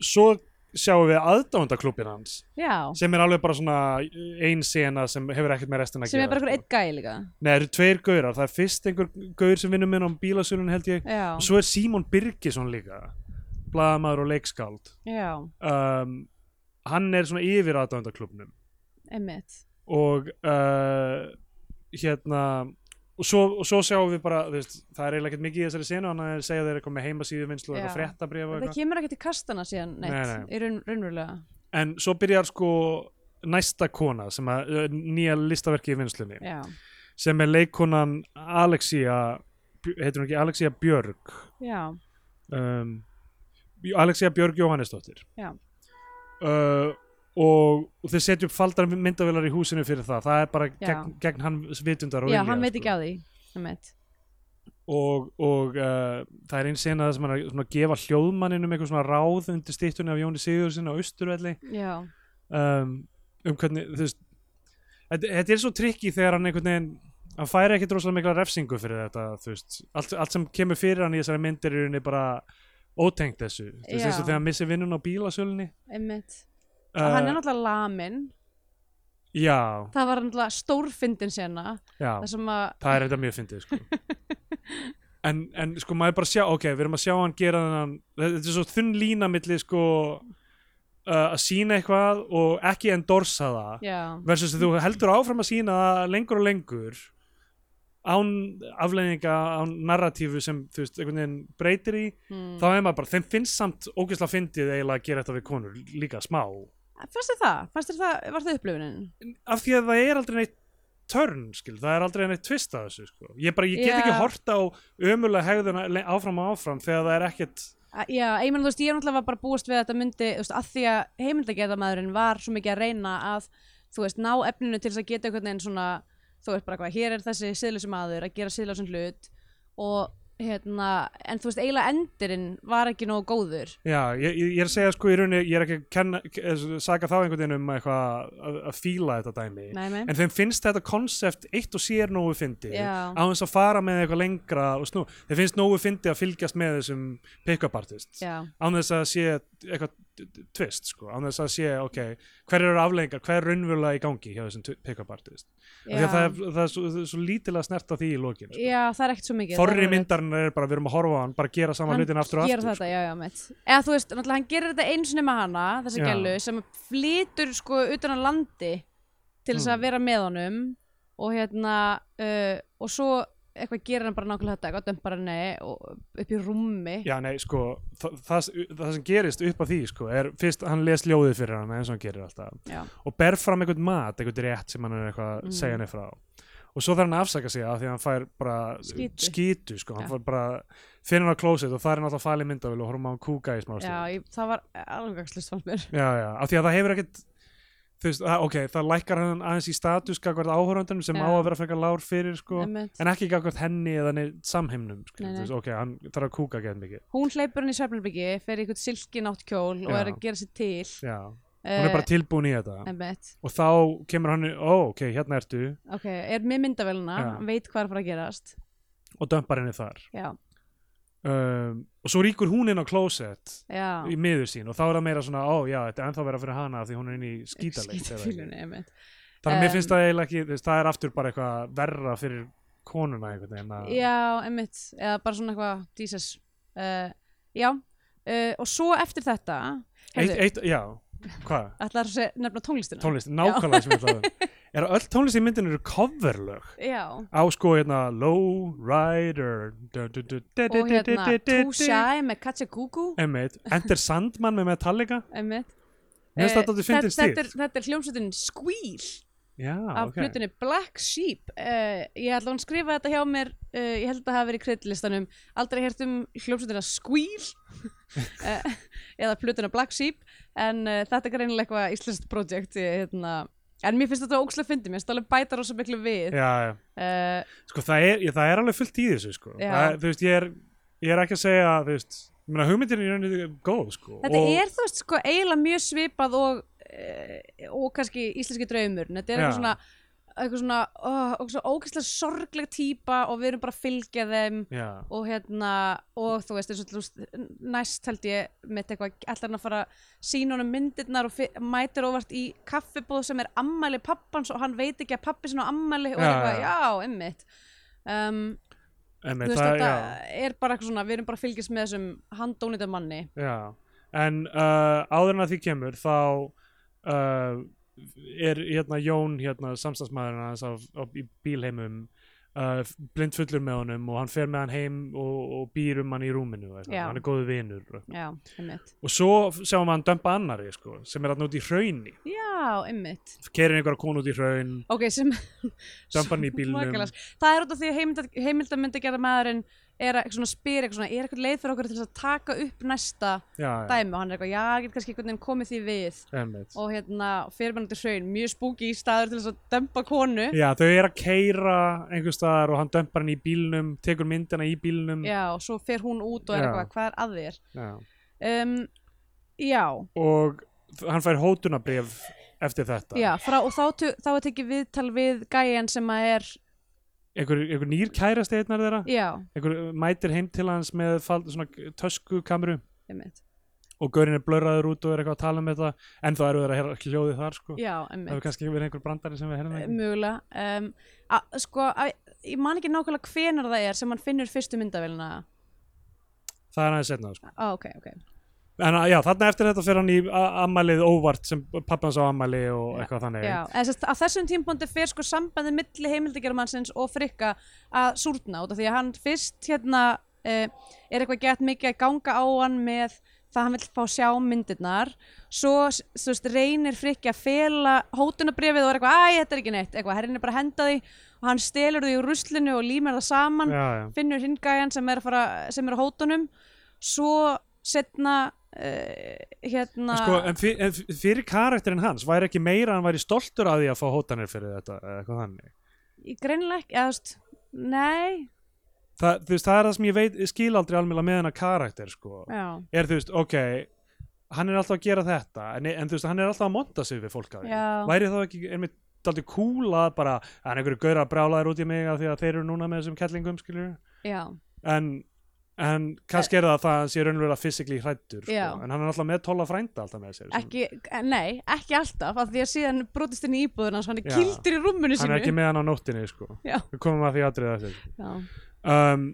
Speaker 2: svo sjáum við aðdándaklúbin hans
Speaker 1: já,
Speaker 2: sem er alveg bara svona ein sena sem hefur ekkert með restina að
Speaker 1: sem er
Speaker 2: gera
Speaker 1: bara einhver
Speaker 2: sko.
Speaker 1: einn gæi líka
Speaker 2: Nei, það eru tveir gaurar, það er fyrst einhver gaur sem vinnur minn á bílasölun held ég
Speaker 1: já,
Speaker 2: og svo er Símon Birgisson líka blaðamaður og leikskáld
Speaker 1: já,
Speaker 2: um, hann er svona yfir aðdándaklúbnum
Speaker 1: einmitt
Speaker 2: og uh, hérna og svo, og svo sjáum við bara þú veist, það er eiginlega ekkert mikið í þessari senu hann er að segja þeir eitthvað með heimasíðu vinslu
Speaker 1: Já.
Speaker 2: eitthvað fréttabrif og
Speaker 1: Það
Speaker 2: eitthvað
Speaker 1: kemur ekkert í kastana síðan neitt,
Speaker 2: Nei,
Speaker 1: í raun, raunverulega.
Speaker 2: en svo byrjar sko næsta kona sem að uh, nýja listaverki í vinslunni
Speaker 1: Já,
Speaker 2: sem er leikkonan Alexia heitir hún ekki Alexia Björg
Speaker 1: já,
Speaker 2: um, Bj- Alexia Björg Jóhannesdóttir
Speaker 1: Já.
Speaker 2: uh, og, og þeir setja upp faldar myndavélar í húsinu fyrir það það er bara
Speaker 1: Já.
Speaker 2: gegn, gegn hann vitundar og
Speaker 1: já
Speaker 2: vilja,
Speaker 1: hann veit
Speaker 2: sko.
Speaker 1: ekki að því. einmitt.
Speaker 2: og, og uh, það er einn sena þar sem hann er svona að gefa hljóðmanninum eitthvað svona ráð undir stýttunni af Jóni Sigurðsson á Austurvelli
Speaker 1: Já,
Speaker 2: um, um hvernig þú veist þetta þetta er svo trikki þegar hann einhvern veginn hann færi ekki droslega mikla refsingu fyrir þetta þú veist, allt, allt sem kemur fyrir hann í þessari myndir er í rauninni bara ótengt þessu, þú veist,
Speaker 1: Já.
Speaker 2: eins og þegar hann missi vinnun á bílasölunni
Speaker 1: einmitt
Speaker 2: Uh,
Speaker 1: hann er náttúrulega lamin
Speaker 2: já,
Speaker 1: það var náttúrulega stórfyndin sena
Speaker 2: já,
Speaker 1: það sem að
Speaker 2: það er þetta mjög fyndið sko. en, en sko maður er bara að sjá ok, við erum að sjá hann gera þennan þetta er svo þunn lína milli sko uh, að sína eitthvað og ekki endorsa það
Speaker 1: já,
Speaker 2: versus að þú heldur áfram að sína það lengur og lengur án afleininga, án narratífu sem þú veist, einhvern veginn breytir í
Speaker 1: mm.
Speaker 2: þá er maður bara, þeim finnst samt ógeðslega fyndið eiginlega að gera þetta við konur, líka smá
Speaker 1: fannst þér það, fannst þér það var það upplifunin
Speaker 2: af því að það er aldrei neitt törn, skil, það er aldrei neitt tvist að þessu, sko, ég bara, ég get
Speaker 1: Já.
Speaker 2: ekki hort á ömulega hegðuna le- áfram og áfram þegar það er ekkert,
Speaker 1: Að- Já, ég meina, þú veist, ég náttúrulega var bara búist við að þetta myndi, þú veist, að því að heimildagerðamæðurinn var svo mikið að reyna að, þú veist, ná efninu til þess að geta einhvern veginn svona, þú veist, bara hvað, hér er þessi siðlösi maður að gera siðlösun hlut og, hérna, en þú veist, eiginlega endirinn var ekki nógu góður.
Speaker 2: já, ég, ég ég er að segja sko í rauninni, ég er ekki að kenna, k- saga þá einhvern veginn um eitthvað að, að fíla þetta dæmi,
Speaker 1: Nei, nei.
Speaker 2: en þeim finnst þetta konsept eitt og sér nógu fyndi
Speaker 1: Já.
Speaker 2: á þess að fara með eitthvað lengra og snú þeim finnst nógu fyndi að fylgjast með þessum pick-up artist
Speaker 1: Já,
Speaker 2: án þess að sé eitthvað t- t- twist sko, án þess að sé, ok hver eru afleggingar, hver er raunverulega í gangi hjá þessum t- pick-up artist Af því
Speaker 1: já.
Speaker 2: að það, er, það, er svo, það er svo lítilega snert á því í lokin sko.
Speaker 1: Já, það er ekkert svo mikið.
Speaker 2: forri
Speaker 1: það er alveg-
Speaker 2: myndarinn er bara, við erum að horfa á hann bara gera saman hlutin aftur og
Speaker 1: gerir
Speaker 2: aftur sko.
Speaker 1: þetta, já, já, mitt. Eða þú veist, náttúrulega hann gerir þetta eins og nema hana, þessi
Speaker 2: Já.
Speaker 1: gælu, sem flytur sko utan að landi til þess
Speaker 2: Mm.
Speaker 1: að vera með honum og hérna, uh, og svo eitthvað gerir hann bara nákvæmlega þetta, eitthvað dömpar hann og upp í rúmi.
Speaker 2: Já, nei, sko, það, það, það sem gerist upp á því, sko, er fyrst hann les ljóðið fyrir hann eins og hann gerir alltaf
Speaker 1: Já.
Speaker 2: og ber fram einhvern mat, einhvern rétt sem hann er eitthvað að
Speaker 1: Mhm.
Speaker 2: segja henni frá og svo þarf hann að afsaka sig af því að hann fær bara
Speaker 1: Skítu.
Speaker 2: skítu sko, hann
Speaker 1: Já.
Speaker 2: fær bara finnur hann á klósett og það er náttúrulega fæli myndavél og horfum á hann kúka í
Speaker 1: Já,
Speaker 2: smá stund.
Speaker 1: ég, það var alveg gagslust fann mér.
Speaker 2: já, já, af því að það hefur ekkert þú veist, að, ok, það lækkar hann aðeins í status gagvart áhorfandunum sem
Speaker 1: Já.
Speaker 2: á að vera frekar lár fyrir sko,
Speaker 1: Einmitt.
Speaker 2: en ekki gagvart henni eða neitt samheimnum, sko,
Speaker 1: Nei,
Speaker 2: þú
Speaker 1: nei.
Speaker 2: veist, ok, hann þarf að kúka gett mikið,
Speaker 1: Hún hleypur hann í svefnarbyggi, fer í eitthvað silkinátt kjól og
Speaker 2: Já.
Speaker 1: er að gera sér til. uh,
Speaker 2: já hún
Speaker 1: Eh,
Speaker 2: er bara tilbúin í þetta
Speaker 1: Einmitt.
Speaker 2: og þá kemur hann, ó, ok, hérna ertu
Speaker 1: Ok, er með myndavélina,
Speaker 2: Já.
Speaker 1: hann veit hvað er að fara að gerast.
Speaker 2: og dömpar henni þar
Speaker 1: Já,
Speaker 2: um, og svo ríkur hún inn á klósett
Speaker 1: já.
Speaker 2: í miður sín og þá er það meira svona, ó, já, þetta er ennþá vera fyrir hana af því hún er inn í skítaleg
Speaker 1: Skítafílunni, einmitt.
Speaker 2: þannig að mér
Speaker 1: Um,
Speaker 2: finnst það eiginlega ekki, þú veist, það er aftur bara eitthvað verra fyrir konuna einhvern veginn að
Speaker 1: Já, einmitt, eða bara svona eitthvað Jesus uh, Já, uh, og svo eftir þetta
Speaker 2: eitt,
Speaker 1: Heyrðu,
Speaker 2: eitt, já, hvað?
Speaker 1: ætlar þú að nefna tónlistina?
Speaker 2: tónlist, nákvæmlega sem ég ætlaði er að öll tónlist í myndinu eru coverlög
Speaker 1: Já,
Speaker 2: á sko hérna Low Rider
Speaker 1: og
Speaker 2: og
Speaker 1: hérna Too Shy með Katja Gugu
Speaker 2: Emmett, Enter Sandman með Metallica
Speaker 1: einmitt
Speaker 2: Mér finnst
Speaker 1: Eh,
Speaker 2: þetta dálítið
Speaker 1: þetta-
Speaker 2: fyndin
Speaker 1: þetta
Speaker 2: stíll.
Speaker 1: er- Þetta er hljómsveitin Squeal
Speaker 2: Já,
Speaker 1: af
Speaker 2: ok
Speaker 1: hlutinni Black Sheep uh, Ég ætla að skrifa þetta hjá mér uh, ég held að það hafi verið í kreddlistanum aldrei hert um hljómsveitina Squeal uh, eða hlutina Black Sheep en uh, þetta er greinilega eitthvað íslenskt projekt ég, hérna. en mér finnst þetta ókslega fyndi mér finnst alveg bæta rosa miklu við
Speaker 2: Já, já
Speaker 1: uh,
Speaker 2: Sko það er, ég, það er alveg fullt í þessu sko
Speaker 1: Já.
Speaker 2: það, er- Þú veist, ég er, ég er ekki að segja Þú veist, ég meina hugmyndin er í rauninni góð sko
Speaker 1: þetta
Speaker 2: og,
Speaker 1: er þú veist sko eiginlega mjög svipað og uh, og kannski íslenski draumur þetta er
Speaker 2: Já.
Speaker 1: eitthvað svona eitthvað svona, oh, svona ókvæslega sorgleg típa og við erum bara að fylgja þeim
Speaker 2: Já,
Speaker 1: og hérna og þú veist, eins og þú veist, næst held ég mitt eitthvað, allar hann að fara að sína honum myndirnar og fi- mætir óvart í kaffibóð sem er ammæli pappans og hann veit ekki að pappi sinna á ammæli og er
Speaker 2: Já,
Speaker 1: eitthvað,
Speaker 2: já.
Speaker 1: já, emmitt um, þú
Speaker 2: Emmett,
Speaker 1: veist,
Speaker 2: það,
Speaker 1: þetta
Speaker 2: já,
Speaker 1: er bara eitthvað svona, við erum bara að fylgjast með þessum handónýta manni
Speaker 2: já En uh, áður en að því kemur Þá uh, Er hérna Jón, hérna samstagsmaðurinn hans á, á, í bílheimum Uh, blind fullur með honum og hann fer með hann heim og, og býr um hann í rúminu og eitthvað.
Speaker 1: Já.
Speaker 2: hann er góðu vinur og
Speaker 1: já, emmitt,
Speaker 2: og svo sjáum við hann dömpa annari sko, sem er hann út í hrauni
Speaker 1: já, emmitt
Speaker 2: kerir einhverja konu út í hraun
Speaker 1: ok, sem
Speaker 2: dömpa hann í bílnum
Speaker 1: Svakalega. það er út af því að heimildamöndi gera maðurinn er að svona spyr eitthvað svona, er eitthvað leið fyrir okkur til þess að taka upp næsta
Speaker 2: já,
Speaker 1: dæmi og hann er eitthvað, já, get kannski einhvern veginn komið því við
Speaker 2: einmitt.
Speaker 1: og hérna, fyrir mann til hraun, mjög spooky staður til þess að dempa konu
Speaker 2: já, þau eru að keira einhver staðar og hann dömpar hann í bílnum tekur myndina í bílnum
Speaker 1: já, og svo fer hún út og er
Speaker 2: Já.
Speaker 1: eitthvað, hvað er að þér
Speaker 2: Já.
Speaker 1: um, já,
Speaker 2: og þ- hann fær hótunabrif eftir þetta
Speaker 1: já, frá, og þá, tu- þá er tekið viðtal við gæjan sem að er
Speaker 2: einhver, einhver nýr kærasti einnar þeirra
Speaker 1: já,
Speaker 2: einhver uh, mætir heim til hans með fal- svona töskukamru
Speaker 1: einmitt
Speaker 2: og gaurinn er blöraður út og er eitthvað að tala um þetta en þá eru þeir að heyra hljóðið þar sko.
Speaker 1: já,
Speaker 2: það hefur
Speaker 1: einmitt,
Speaker 2: kannski verið einhver brandari sem við heyrðum ekki
Speaker 1: mjögulega um, að, sko, að, ég man ekki nákvæmlega hvenar það er sem hann finnur fyrstu myndavélina
Speaker 2: það er aðeins setna sko.
Speaker 1: ah, ok, ok,
Speaker 2: en að- já, þarna eftir þetta fer hann í a- ammælið óvart sem pappi hans á ammæli og
Speaker 1: Já.
Speaker 2: eitthvað þannig
Speaker 1: já, en sest, að þessum tímpóndi fer sko sambandi milli heimildagjörmannsins og frikka að súrna út af því að hann fyrst hérna uh, er eitthvað gett mikið að ganga á hann með það hann vill fá sjá myndirnar svo s- þú veist, reynir frikki að fela hótunabrifið og er eitthvað, æ, þetta er ekki neitt eitthvað, herrin er bara að henda því og hann stelur því úr ruslinu og límar það saman
Speaker 2: já, já.
Speaker 1: finnur hingæjan sem er að fara sem er á hótunum svo setna uh,
Speaker 2: En,
Speaker 1: hérna
Speaker 2: sko, en, fyr, en f- fyrir karakterinn hans væri ekki meira að hann væri stoltur að því að fá hótanir fyrir þetta eða eitthvað þannig
Speaker 1: Í greinilega ekki, eða þú veist, nei,
Speaker 2: Þa, þú veist, það er það sem ég veit, ég skil aldrei almjöla með hennar karakter sko.
Speaker 1: já,
Speaker 2: er þú veist, ok hann er alltaf að gera þetta en, en þú veist, hann er alltaf að monta sig við fólk að því
Speaker 1: Já.
Speaker 2: væri þá ekki, er mér daldið kúla bara, hann er einhverju gaurar brálaðir út í mig af því að þeir eru núna með þessum kettlingum skilur
Speaker 1: já,
Speaker 2: en, en kannski er það að það sé raunverulega fysikli hrættur sko.
Speaker 1: Já.
Speaker 2: en hann er alltaf með tóla frænda alltaf með sér sem-
Speaker 1: ekki, nei, ekki alltaf, af því að síðan brotist inn í íbúðuna, svo hann er
Speaker 2: Já.
Speaker 1: kildur í rúmunu
Speaker 2: hann
Speaker 1: sínu.
Speaker 2: er ekki með hann á nóttinni sko.
Speaker 1: Já.
Speaker 2: við komum að því aðrið eftir
Speaker 1: Já,
Speaker 2: um,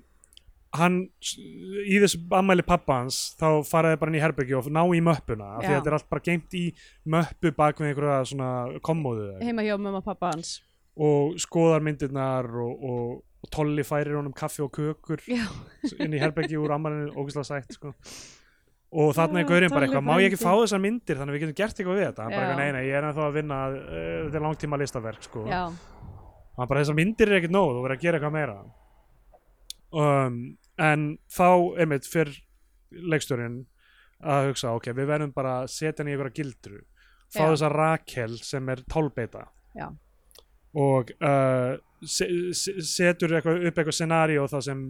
Speaker 2: hann í þessu ammæli pappa hans þá faraði bara inn í herbergi og ná í möppuna af því að
Speaker 1: Já.
Speaker 2: þetta er allt bara geimt í möppu bak við einhverja svona kommóðu eða eitthvað.
Speaker 1: heima hjá mamma og pappa hans.
Speaker 2: og skoðar myndirnar og, og, og Tolli færir honum kaffi og kökur
Speaker 1: Já,
Speaker 2: inn í herbergi úr ammælinu ógæslega sætt sko og þarna er
Speaker 1: Já,
Speaker 2: gaurinn bara
Speaker 1: Tolli
Speaker 2: eitthvað, má ég ekki fá
Speaker 1: frændi.
Speaker 2: þessar myndir þannig að við getum gert eitthvað við þetta hann bara
Speaker 1: Já.
Speaker 2: eitthvað, nei, nei, ég er ennþá að vinna að, uh, þetta er langtíma listaverk sko
Speaker 1: já,
Speaker 2: hann bara þessar myndir er ekkert nóg þú verður að gera eitthvað meira um, en þá einmitt fyrr leikstjórinn að hugsa ok, við verðum bara að setja hann í einhverja gildru fá
Speaker 1: Já.
Speaker 2: þessa Rakel sem er tálbeita
Speaker 1: Já.
Speaker 2: og uh, se se setur eitthvað, upp eitthvað scenaríó þar sem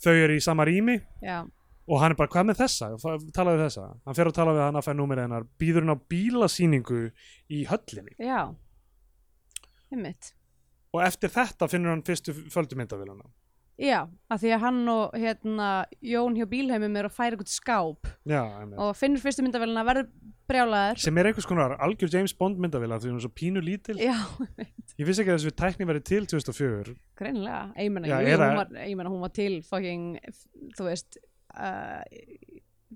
Speaker 2: þau eru í sama rými
Speaker 1: já,
Speaker 2: og hann er bara, hvað með þessa? Fa- Talaðu við þessa? Hann fer að tala við hann að fæða númerið hennar býður hann á bílasýningu í höllinni
Speaker 1: já, heimitt.
Speaker 2: og eftir þetta finnur hann fyrstu földumyndavélana
Speaker 1: Já, af því að hann og hérna, Jón hjá bílheimum er að færa eitthvað skáp
Speaker 2: Já, einmitt.
Speaker 1: og finnur fyrstu myndavélina að verða brjálaður.
Speaker 2: sem er einhvers konar algjör James Bond myndavila því hún er svo pínu lítil
Speaker 1: Já,
Speaker 2: ég vissi ekki að þessu tækni verið til 2004
Speaker 1: greinilega, ég meina,
Speaker 2: Já,
Speaker 1: jú,
Speaker 2: eða-
Speaker 1: hún, var, ég meina hún var til fucking, þú veist uh,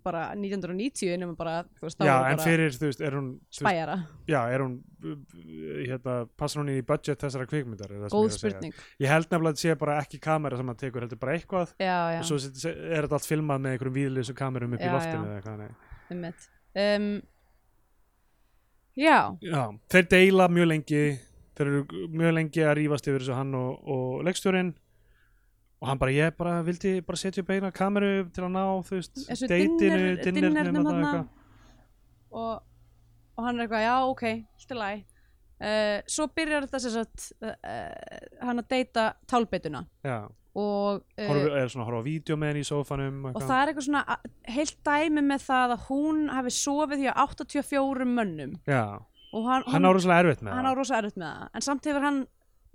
Speaker 1: bara 1990 nema bara, þú veist, þá
Speaker 2: já,
Speaker 1: voru
Speaker 2: en
Speaker 1: bara
Speaker 2: fyrir, þú veist, er hún þú veist,
Speaker 1: spæjara,
Speaker 2: já, er hún uh, hérna, passar hún í budget þessara kvikmyndar er það sem ég
Speaker 1: góð
Speaker 2: er að segja.
Speaker 1: spurning
Speaker 2: ég held nefnilega að þetta sé bara ekki kamera sem hann tekur heldur bara eitthvað
Speaker 1: já, já,
Speaker 2: og svo sit- se- er þetta allt filmað með einhverjum víðlýsum kamerum upp
Speaker 1: Já,
Speaker 2: í loftinu
Speaker 1: já.
Speaker 2: eða eitthvað, nei.
Speaker 1: einmitt um, já,
Speaker 2: já, þeir deila mjög lengi þeir eru mjög lengi að rífast yfir þessu hann og, og leikstjórin og hann bara, ég bara vildi bara setja upp eina kameru til að ná, þú veist,
Speaker 1: þessu
Speaker 2: deitinu,
Speaker 1: dinner-
Speaker 2: dinnernum
Speaker 1: dinnernum
Speaker 2: þarna
Speaker 1: hann
Speaker 2: eitthvað.
Speaker 1: og, og hann er eitthvað, já, ok alltaf læg uh, svo byrjar þetta sem sagt uh, uh, hann að deyta tálbeituna
Speaker 2: Já,
Speaker 1: og, uh,
Speaker 2: horf, er svona að horfa á vídeo með henni í sófanum
Speaker 1: Eh. og það er eitthvað svona a- heilt dæmi með það að hún hafi sofið hjá 84 mönnum
Speaker 2: Já,
Speaker 1: og hann,
Speaker 2: hann á rosalega erfitt með
Speaker 1: hann á rosa erfitt með það en samt hefur hann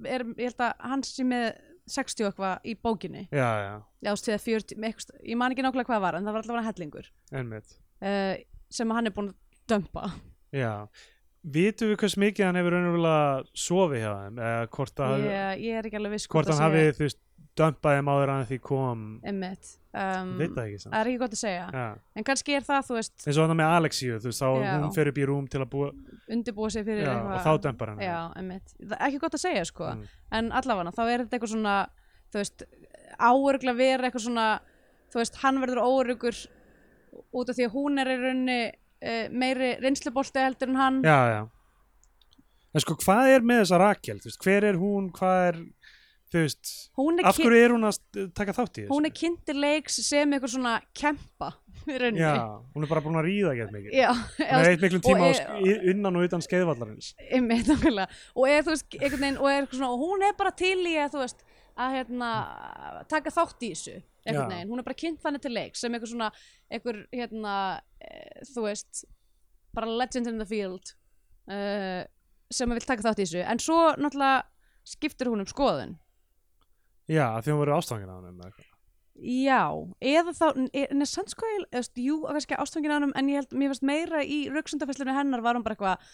Speaker 1: er, ég held að hann sé með 60 og eitthvað í bókinni
Speaker 2: það Já, já,
Speaker 1: Já, stíða 40, með eitthvað, ég man ekki nákvæmlega hvað var en það var allavega hellingur
Speaker 2: einmitt
Speaker 1: uh, sem hann er búin að dömpa
Speaker 2: Já, vitum við hvers mikið hann hefur raunverulega sofið hjá þeim eða hvort, að,
Speaker 1: ég, ég er ekki alveg viss
Speaker 2: hvort hann
Speaker 1: það
Speaker 2: hafi,
Speaker 1: sé
Speaker 2: þú veist, dömpaði máður hann því kom
Speaker 1: einmitt um,
Speaker 2: Veit það ekki
Speaker 1: það
Speaker 2: samt
Speaker 1: er ekki gott að segja
Speaker 2: Já,
Speaker 1: en kannski er það, þú veist,
Speaker 2: eins og hann með Alexíu, þú veist, þá
Speaker 1: Já.
Speaker 2: hún fer upp í rúm til að búa
Speaker 1: undirbúa sig fyrir
Speaker 2: já, og þá
Speaker 1: eitthvað
Speaker 2: dömpar hann
Speaker 1: Já, einmitt, það er ekki gott að segja sko
Speaker 2: Mm.
Speaker 1: en allavega þá er þetta eitthvað svona þú veist, áörgla vera eitthvað svona þú veist, hann verður óörgur út af því að hún er í rauninni uh, meiri reynslubolti heldur en hann
Speaker 2: Já, já En sko, hvað er með þessa Rakel, þú veist, hver er hún, hvað er, þú veist,
Speaker 1: hún er
Speaker 2: af hverju er hún að st- taka þátt í þessu?
Speaker 1: hún er kynnti leiks sem eitthvað svona kempa í rauninni
Speaker 2: Já, hún er bara búin að ríða gett mikið
Speaker 1: Já,
Speaker 2: Hún er eitt miklum tíma
Speaker 1: og
Speaker 2: á
Speaker 1: er-
Speaker 2: sk- í- innan og utan skeiðvallarins
Speaker 1: einmitt, nákvæmlega. og er þú veist einhvern veginn og er eitthvað svona og hún er bara til í að þú veist að hérna taka þátt í þessu einhvern
Speaker 2: Já.
Speaker 1: veginn, hún er bara kynnt þannig til leiks sem eitthvað svona, eitthvað hérna e, þú veist bara legend in the field uh, sem að vil taka þátt í þessu en svo náttúrulega skiptir hún um skoðun
Speaker 2: já, af því hún verið ástangin á hann
Speaker 1: Já, eða þá, en er sann sko, ég- eða, þú veist, jú, að kannski ástfangin á hann, en ég held, mér finnst meira í rauksundafæslunum hennar var hún bara eitthvað,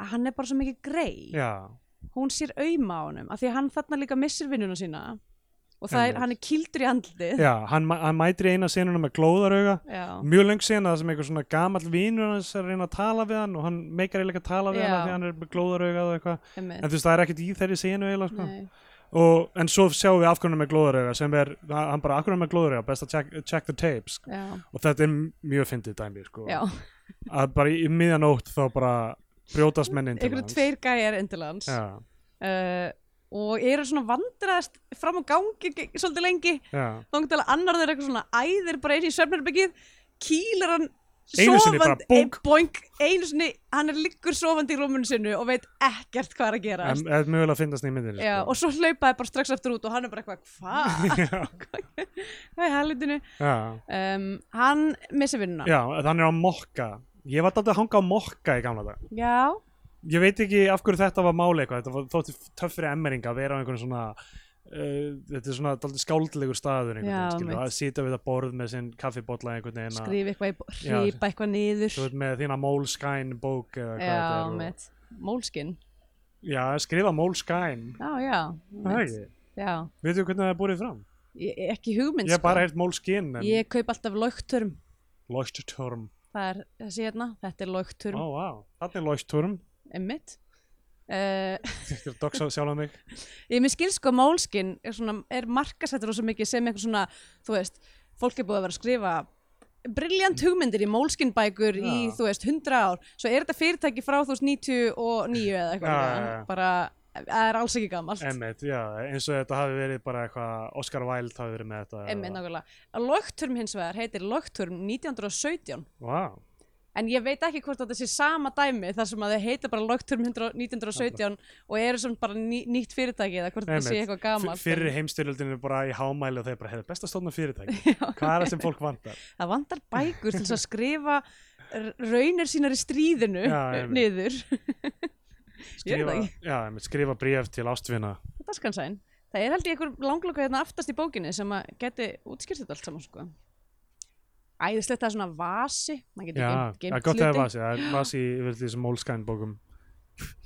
Speaker 1: að hann er bara svo mikið grei,
Speaker 2: já,
Speaker 1: hún sér auma á honum, af því að hann þarna líka missir vinnuna sína og það er,
Speaker 2: Einmitt.
Speaker 1: hann er kildur í andlið.
Speaker 2: já, hann, ma- hann mætir í eina senuna með glóðarauga
Speaker 1: Já.
Speaker 2: mjög löng sena þar sem einhver svona gamall vinur hans er að reyna að tala við hann og hann meikar eiginlega ekki að tala
Speaker 1: Já.
Speaker 2: við hann af því hann er með glóðarauga og eitthvað en
Speaker 1: einmitt.
Speaker 2: þú veist það er ekkert í þeirri senu eiginlega sko.
Speaker 1: Nei.
Speaker 2: og, en svo sjáum við afkvæmna með glóðarauga sem er, hann bara afkvæmna með glóðarauga best að check, check the tapes sko.
Speaker 1: Já,
Speaker 2: og þetta er mjög fyndið dæmi sko.
Speaker 1: já,
Speaker 2: að bara í, í miðjanótt þá bara brjótast mennin til
Speaker 1: einhverju tveir gæjar inn til hans
Speaker 2: já,
Speaker 1: uh, og eru svona vandræðast fram á gangi ge- svolítið lengi
Speaker 2: já.
Speaker 1: þá til að annar þeir eitthvað svona æðir bara eins í svefnherbyggið kýlar hann
Speaker 2: Einu sinni bara,
Speaker 1: sofandi-
Speaker 2: búnk.
Speaker 1: eh, boink, einu sinni, hann er liggur sofandi í rúmunu sinu og veit ekkert hvað er að gera
Speaker 2: en er mögulega að fyndast í sko. myndinni
Speaker 1: Já, og svo hlaupaði bara strax aftur út og hann er bara eitthvað, hvað?
Speaker 2: já,
Speaker 1: Hvað er helvitinu?
Speaker 2: já,
Speaker 1: Um, hann missi vinnuna.
Speaker 2: já, þannig að mokka ég var dætt að hanga á mokka í gamla dag
Speaker 1: Já,
Speaker 2: ég veit ekki af hverju þetta var máli eitthvað, þetta var, þótti töff fyrir emmeringa að vera á einhvern svona uh, þetta er svona dálítið skáldlegur staður einhvern
Speaker 1: Já,
Speaker 2: veginn, skilur,
Speaker 1: mitt.
Speaker 2: að sitja við það borð með sinn kaffibolla einhvern veginn að-
Speaker 1: skrifa eitthvað, í bo-
Speaker 2: Hérna- Já,
Speaker 1: hripa eitthvað niður.
Speaker 2: þú veit með þína Moleskine bók eða hvað þetta
Speaker 1: Já,
Speaker 2: er og-
Speaker 1: mitt. Mólskin.
Speaker 2: já, skrifa Moleskine
Speaker 1: Já, já.
Speaker 2: það er
Speaker 1: Mitt.
Speaker 2: ekki,
Speaker 1: Já,
Speaker 2: veitu hvernig það er búið fram
Speaker 1: ég, ég- ekki hugmynd.
Speaker 2: ég hef
Speaker 1: sko.
Speaker 2: bara heilt Moleskine en
Speaker 1: Ég kaup alltaf laukturm.
Speaker 2: Leuchtturm,
Speaker 1: Það er þessi hérna, þetta er
Speaker 2: ó
Speaker 1: laukturm.
Speaker 2: oh, vá, þarna er Leuchtturm
Speaker 1: Emmitt. Uh,
Speaker 2: þetta er doksað sjálf um mig
Speaker 1: ég mér skil sko að Mólskin er, svona, er markasættur og svo mikið sem eitthvað svona, þú veist, fólk er búið að vera að skrifa briljant hugmyndir í Mólskin bækur í,
Speaker 2: Já.
Speaker 1: þú veist, 100 ár. Svo er þetta fyrirtæki frá þú veist 99 eða eitthvað.
Speaker 2: Já,
Speaker 1: líka.
Speaker 2: já, já.
Speaker 1: Bara, það er alls ekki gamalt.
Speaker 2: Emmett, já, eins og þetta hafi verið bara eitthvað Oscar Wilde hafi verið með þetta eða-
Speaker 1: Emmitt, nákvæmlega. Laukturm hins vegar heitir Laukturm 1917.
Speaker 2: Vá,
Speaker 1: En ég veit ekki hvort þetta sé sama dæmi þar sem að þau heita bara Lögturm 1917 og eru sem bara ný, nýtt fyrirtæki eða hvort þetta sé
Speaker 2: Einmitt.
Speaker 1: eitthvað gamalt.
Speaker 2: F- fyrir heimstyrjöldinu bara í hámæli og þeir bara hefur best að stofna fyrirtæki hvað er það sem fólk vantar
Speaker 1: Það vantar bækur til þess að skrifa r- raunir sínar í stríðinu
Speaker 2: Já, einmitt.
Speaker 1: niður. Ég veit
Speaker 2: skrifa,
Speaker 1: það
Speaker 2: já, einmitt, skrifa bréf til ástvinna
Speaker 1: Þetta skan sæn. Það er held ég einhver langloka hérna aftast í bókinni sem að geti útskýrt þetta allt saman sko. Æðislegt það er svona vasi, maður getur
Speaker 2: já,
Speaker 1: geymt-
Speaker 2: já,
Speaker 1: geymt
Speaker 2: gott að það
Speaker 1: hluti.
Speaker 2: var sér það var sér yfir þessum Moleskine bókum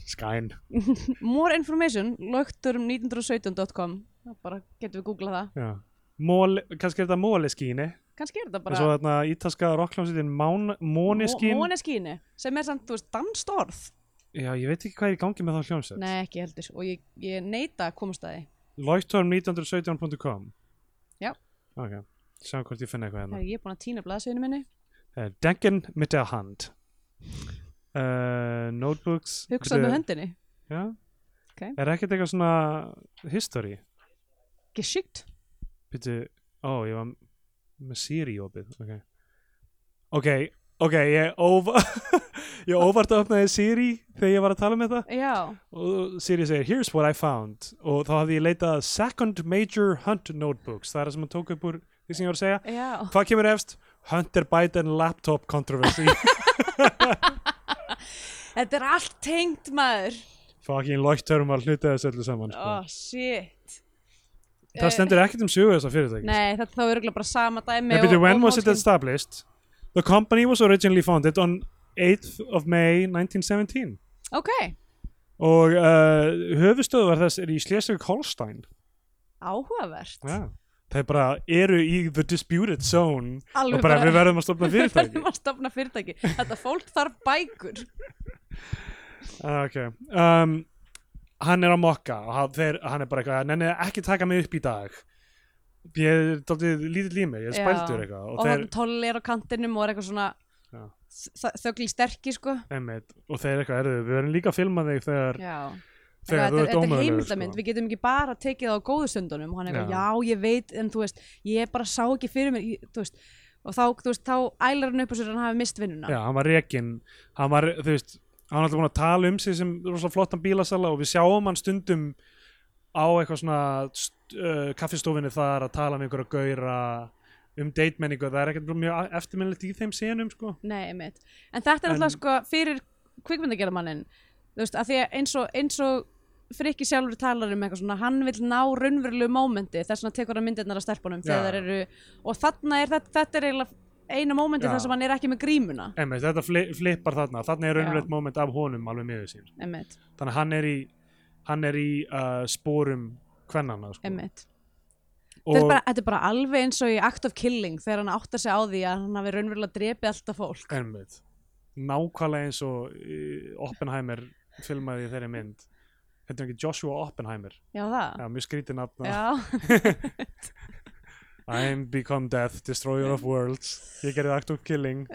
Speaker 2: Skæn
Speaker 1: More information, um lögturm1917.com, bara getum við googlað það.
Speaker 2: já. Mol, kannski er þetta Moleskine
Speaker 1: Kannski er þetta
Speaker 2: en
Speaker 1: bara...
Speaker 2: svo þarna ítaska rockljómsveitin Måneskin
Speaker 1: Móneskínu, sem er samt, þú veist, danst orð
Speaker 2: já, ég veit ekki hvað er í gangi með þá hljómsveit
Speaker 1: Nei, ekki heldur, og ég, ég neita að komast að því
Speaker 2: Leuchtturm1917.com
Speaker 1: Já.
Speaker 2: ok, sjá hvort ég finn eitthvað hérna
Speaker 1: Þegar ég er búin að týna blaðsöðinu minni
Speaker 2: Uh, Denken mit der Hand uh, Notebooks
Speaker 1: Hugsað með höndinni,
Speaker 2: Já
Speaker 1: Ok.
Speaker 2: Er ekkert eitthvað svona history?
Speaker 1: geschikt
Speaker 2: Býtu, ó, ég var með Siri opið Ok, ok, okay ég over ég óvart að opnaði Siri þegar ég var að tala með það
Speaker 1: Já,
Speaker 2: og Siri segir, here's what I found og þá hafði ég leitað að second major hunt notebooks, það er það sem hann tók upp úr því sem ég var að segja
Speaker 1: já
Speaker 2: Hvað kemur efst? Hunter Biden laptop controversy
Speaker 1: Þetta er allt tengt maður
Speaker 2: Fucking lóttörum var hlutið þessu öllu saman sko.
Speaker 1: Oh, shit
Speaker 2: Það stendur ekkert um sögu þessa fyrirtækis.
Speaker 1: Nei, þetta þá er örugglega bara sama dæmi
Speaker 2: Nei, byrju,
Speaker 1: og-
Speaker 2: when
Speaker 1: og
Speaker 2: was it
Speaker 1: Moleskine.
Speaker 2: established? The company was originally founded on 8th of May 1917
Speaker 1: Ok,
Speaker 2: og uh, höfustöðu var þess er í Schleswig-Holstein.
Speaker 1: áhugavert
Speaker 2: Ja. Þeir bara eru í the disputed zone
Speaker 1: Alveg
Speaker 2: og bara,
Speaker 1: bara-
Speaker 2: við verðum að stopna
Speaker 1: Við
Speaker 2: fyrirtæki.
Speaker 1: verðum að stofna fyrirtæki Þetta fólk þarf bækur
Speaker 2: Ah, ok. Um, hann er að mokka og hann, þeir, hann er bara eitthvað, nenni ekki taka mig upp í dag. Ég er dálítið lítill í mig, ég er
Speaker 1: Já.
Speaker 2: spældur eitthvað.
Speaker 1: Og það tollir á kantinum og er eitthvað svona
Speaker 2: Já.
Speaker 1: Þögli sterki, sko
Speaker 2: Einmitt, og þeir eitthvað erðu, við verðum líka að filma þig þegar,
Speaker 1: Já
Speaker 2: þegar þú
Speaker 1: þetta, þetta er
Speaker 2: ert ómögulegur sko.
Speaker 1: heimildamynd, við getum ekki bara tekið það á góðu stundunum og hann er
Speaker 2: Já.
Speaker 1: eitthvað, já ég veit en þú veist, ég bara sá ekki fyrir mér ég, þú veist, og þá, þú veist, þá ælar hann upp og sér að hann hafi mist vinnuna
Speaker 2: Já, hann var rekin hann var, þú veist, hann var alltaf búin að tala um sig sem rosalega flottan bílasala og við sjáum hann stundum á eitthvað svona st- uh, kaffistofinu þar að tala um einhverja gauðra um deitmenningu, það er ekkert mjög eftirminnilegt í þeim senum, sko
Speaker 1: Nei, einmitt, en þetta er
Speaker 2: En-
Speaker 1: alltaf sko fyrir kvikmyndagerðamannin þú veist, að því að eins og, eins og Frikki sjálfur talar um eitthvað svona hann vil ná raunverulegu mómenti þess vegna tekur hann myndirnar af stelpunum
Speaker 2: Já.
Speaker 1: þegar þær eru og þarna er þetta, þetta er eiginlega eina mómenti
Speaker 2: Já.
Speaker 1: þar sem hann er ekki með grímuna
Speaker 2: Einmitt, þetta fli- flippar þarna, þarna er raunverulegt
Speaker 1: Já.
Speaker 2: moment af honum alveg miður sín
Speaker 1: einmitt,
Speaker 2: þannig að hann er í, hann er í uh, spórum kvennana sko.
Speaker 1: einmitt. Þetta, er
Speaker 2: og,
Speaker 1: bara, þetta er bara alveg eins og í Act of Killing þegar hann áttar sig á því að hann hafi raunverulega drepið alltaf fólk
Speaker 2: einmitt, nákvæmlega eins og uh, Oppenheimer filmaði í þeirri mynd þetta er ekki Joshua Oppenheimer
Speaker 1: já það,
Speaker 2: já, mjög skrítið nafna
Speaker 1: já,
Speaker 2: I'm become death, destroyer of worlds ég gerði act of killing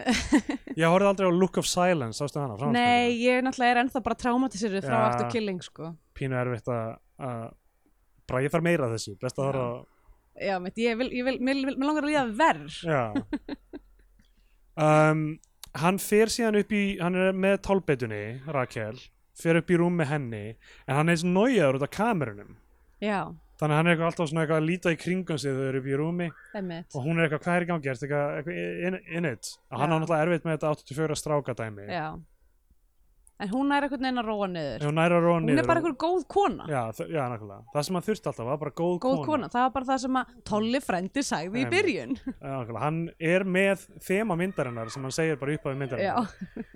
Speaker 2: ég horfði aldrei á Look of Silence ástu hana, frá
Speaker 1: nei, ég náttúrulega er ennþá bara traumatiseru frá
Speaker 2: Já.
Speaker 1: Act of Killing sko.
Speaker 2: pínu erfitt að að- bara ég þarf meira af þessu, best að
Speaker 1: Já.
Speaker 2: horfa á
Speaker 1: já, mitt, ég vil, ég vil, mér, mér langar að líða verð
Speaker 2: Já um, Hann fer síðan upp í hann er með tálbeitunni, Rakel fer upp í rúm með henni en hann er eins nójaður út af kamerunum
Speaker 1: já,
Speaker 2: þannig að hann er eitthvað alltaf svona eitthvað að líta í kringum sig þegar þau eru upp í rúmi
Speaker 1: einmitt
Speaker 2: og hún er eitthvað hvað er í gangi, ertu eitthvað, eitthvað in, in it og
Speaker 1: Já.
Speaker 2: hann á náttúrulega erfitt með þetta 84 strákadæmi
Speaker 1: já. en hún er eitthvað neina að róa niður
Speaker 2: en hún næra róa
Speaker 1: hún
Speaker 2: niður
Speaker 1: er bara
Speaker 2: og-
Speaker 1: einhver góð kona
Speaker 2: Já, þ- já, nákvæmlega. Það sem hann þurfti alltaf var bara góð,
Speaker 1: góð kona. það var bara það sem að Tolli frendi sagði
Speaker 2: Einmitt.
Speaker 1: í byrjun
Speaker 2: Já, nákvæmlega. Hann er með þema myndarinnar sem hann segir bara upp af
Speaker 1: já,
Speaker 2: myndarinnar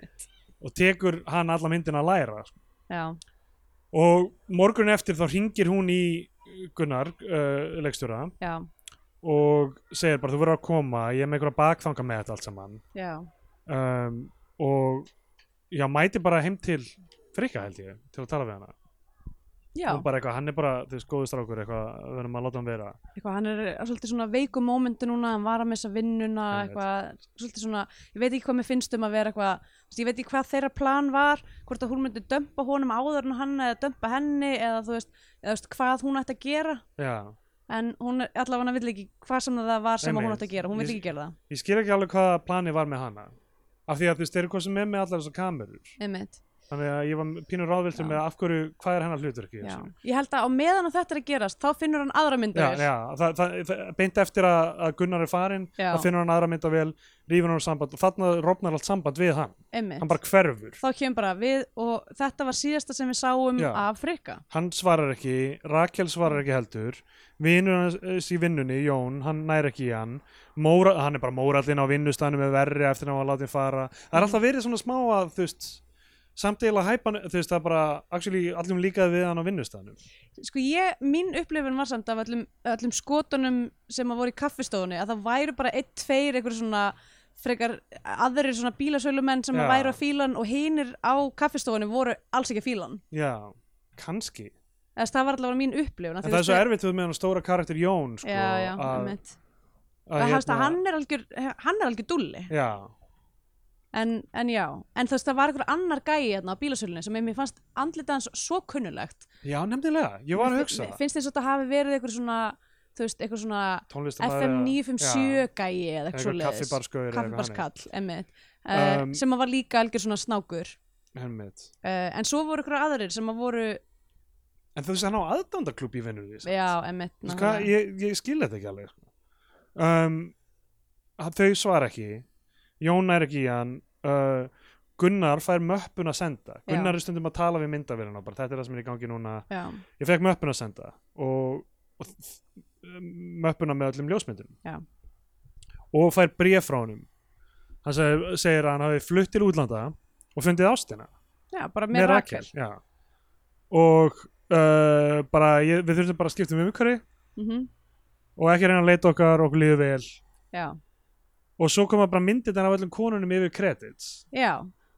Speaker 2: og tekur hann alla myndina að læra sko.
Speaker 1: já,
Speaker 2: og morgun eftir þá ringir hún í Gunnar, uh, leikstjóra
Speaker 1: já,
Speaker 2: og segir bara þú verður að koma, ég er með einhverja bakfanga með þetta allt saman
Speaker 1: já
Speaker 2: um, og já, mæti bara heim til Frikka held ég til að tala við hana
Speaker 1: já,
Speaker 2: Hún bara eitthvað, hann er bara, þú veist, góðu strákur eitthvað, við verðum að láta hann vera
Speaker 1: eitthvað, hann er svolítið svona veikum mómenti núna, hann var að missa vinnuna
Speaker 2: Einmitt.
Speaker 1: eitthvað, svolítið svona ég veit ekki hvað mér finnst um að vera eitthvað þú veist, ég veit ekki hvað þeirra plan var, hvort að hún myndi dömpa honum áður en hann eða dömpa henni eða þú veist, eða, þú veist hvað hún ætti að gera
Speaker 2: já,
Speaker 1: en hún er allavega vill ekki hvað sem það var sem að hún
Speaker 2: Einmitt.
Speaker 1: átti að gera, hún vill
Speaker 2: Ég-
Speaker 1: ekki gera það
Speaker 2: ég skil ekki alveg hvað planið var með hana af því að þú veist, þeir eru hvað sem er með allar þessar kamerur
Speaker 1: Einmitt,
Speaker 2: þannig að ég var pínur ráðviltur
Speaker 1: Já.
Speaker 2: með af hverju, hvað er hennar hlutur ekki
Speaker 1: já. Ég held að á meðan að þetta er að gerast þá finnur hann aðra
Speaker 2: já,
Speaker 1: myndavél
Speaker 2: já, það, það, það, beint eftir að, að Gunnar er farinn
Speaker 1: Já.
Speaker 2: þá finnur hann aðra mynda vel, rífur hann úr samband og þarna rofnar allt samband við hann
Speaker 1: Einmitt.
Speaker 2: hann bara hverfur,
Speaker 1: Þá kemur bara við og þetta var síðasta sem við sáum
Speaker 2: Já.
Speaker 1: af frikka
Speaker 2: hann svarar ekki Rakel svarar ekki heldur vinur hans eh, í vinnunni, Jón, hann nær ekki í hann Móra, hann er bara mórallinn á vinnustæðanum er verri eftir að hann var látið fara
Speaker 1: Mhm.
Speaker 2: það er alltaf verið svona smá að þú veist samt eiginlega hæpa, hann- þú veist það er bara actually allum líkaði við hann á vinnustæðanum
Speaker 1: Sko ég, mín upplifun var samt af öllum, öllum skotunum sem að voru í kaffistofunni að það væru bara eitt, tveir einhver svona frekar aðrir svona bílasölumenn sem
Speaker 2: Já.
Speaker 1: að væru að fílan og hinir á kaffistofunni voru alls ekki að fílan
Speaker 2: já, kannski
Speaker 1: Eðast, það var allavega mín upplifun af
Speaker 2: en
Speaker 1: því þú
Speaker 2: það er svo
Speaker 1: veist,
Speaker 2: erfitt við með hann stóra karakter Jón sko,
Speaker 1: Já, já,
Speaker 2: að, hérna-
Speaker 1: einmitt Það hefst að hann er algjör, hann er algjör dulli
Speaker 2: já,
Speaker 1: en, en já, en þú veist það var einhver annar gæi hérna á bílasölunni sem mér fannst andlitað hans svo kunnulegt
Speaker 2: Já, nefnilega, ég var að hugsa
Speaker 1: Mér
Speaker 2: það
Speaker 1: finnst þess að það hafi verið einhver svona þú veist, einhver svona
Speaker 2: Tónlistamæður
Speaker 1: FM 957 gæi eða eitthvað
Speaker 2: Eitthvað
Speaker 1: svoleiðis
Speaker 2: kaffibarskauður eða eitthvað
Speaker 1: kaffibarskall, emmitt uh,
Speaker 2: Um,
Speaker 1: sem að var líka algjör svona snákur uh,
Speaker 2: Helmitt
Speaker 1: en svo voru ykkur aðrir sem að voru
Speaker 2: En þú veist, hann á aðdándarklúb í sko. vinnur því
Speaker 1: já, emmitt nákvæmlega.
Speaker 2: ég, ég skil þetta ekki alveg sko. um, að Þau svara ekki Jón er ekki í hann uh, Gunnar fær möppun að senda Gunnar er stundum að tala við myndavélina bara, Þetta er það sem er í gangi núna
Speaker 1: já,
Speaker 2: Ég fekk möppun að senda og, og þ- um, möppuna með öllum ljósmyndunum
Speaker 1: Já.
Speaker 2: og fær bréf frá honum Hann segir, segir að hann hafi flutt til útlanda og fundið ástina
Speaker 1: já, bara með Rakel
Speaker 2: já. og uh, bara, ég, við þurfum bara að skipta um umhverfi
Speaker 1: mm
Speaker 2: og ekki reyna að leita okkar okkur líður vel
Speaker 1: já,
Speaker 2: og svo koma bara myndir af öllum konunum yfir credits
Speaker 1: já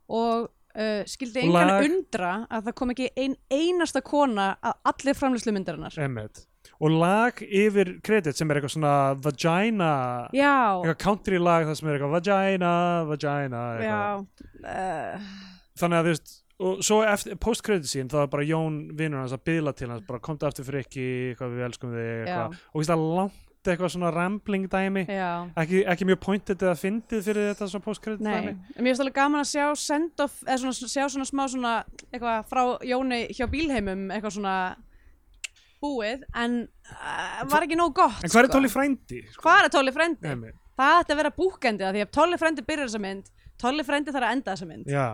Speaker 1: og uh, skildi
Speaker 2: Og
Speaker 1: engan
Speaker 2: lag.
Speaker 1: undra að það kom ekki ein einasta kona að allir framlýslu myndarinnar
Speaker 2: Einmitt. og lag yfir credits sem er eitthvað svona vagina
Speaker 1: já,
Speaker 2: eitthvað country lag það sem er eitthvað vagina, vagina eitthvað.
Speaker 1: já uh,
Speaker 2: þannig að þú veist og svo eftir post credits sín þá er bara Jón vinnur hans að byðla til hans bara komdu aftur fyrir ekki, eitthvað við elskum þig eitthvað. og þú veist það er langt eitthvað svona rambling dæmi
Speaker 1: Eh, já
Speaker 2: ekki, ekki mjög pointið eða fyndið fyrir þetta svona post-credit
Speaker 1: Nei, en mér finnst alveg gaman að sjá send off, eða svona, sjá svona smá svona eitthvað frá Jóni hjá bílheimum eitthvað svona búið, en uh, var ekki nóg gott
Speaker 2: en hvað er
Speaker 1: sko.
Speaker 2: Tóli frændi?
Speaker 1: Hvar er Tolli frendi?
Speaker 2: Nei,
Speaker 1: Það ætti að vera búkendið af því að Tolli frendi byrjar þessa mynd Tolli frændi þarf að enda þessa mynd
Speaker 2: Já,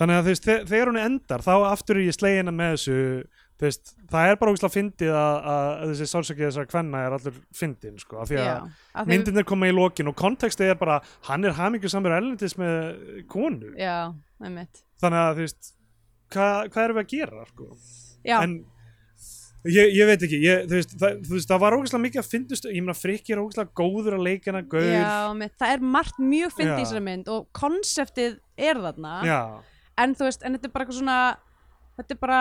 Speaker 2: þannig að þú veist, þe- þegar hún endar þá aftur er ég slegin með þessu þú veist, það er bara ógislega fyndið að, að, að þessi sársökið þessara kvenna er allur fyndin, sko, af því að
Speaker 1: af því-
Speaker 2: myndirnir koma í lokin og kontekstið er bara hann er hamingjusamur erlendis með konu
Speaker 1: Já, einmitt
Speaker 2: þannig að þú veist, hvað hva erum við að gera sko?
Speaker 1: Já,
Speaker 2: en ég, ég veit ekki ég, þú, veist, það, þú veist, það var ógislega mikið að fyndust ég meina frikki er ógislega góður að leikina gaur,
Speaker 1: já einmitt. það er margt mjög fyndið í
Speaker 2: Já.
Speaker 1: þessari mynd og konseptið er þarna
Speaker 2: já
Speaker 1: en þú veist, en þetta er bara eitthvað svona þetta er bara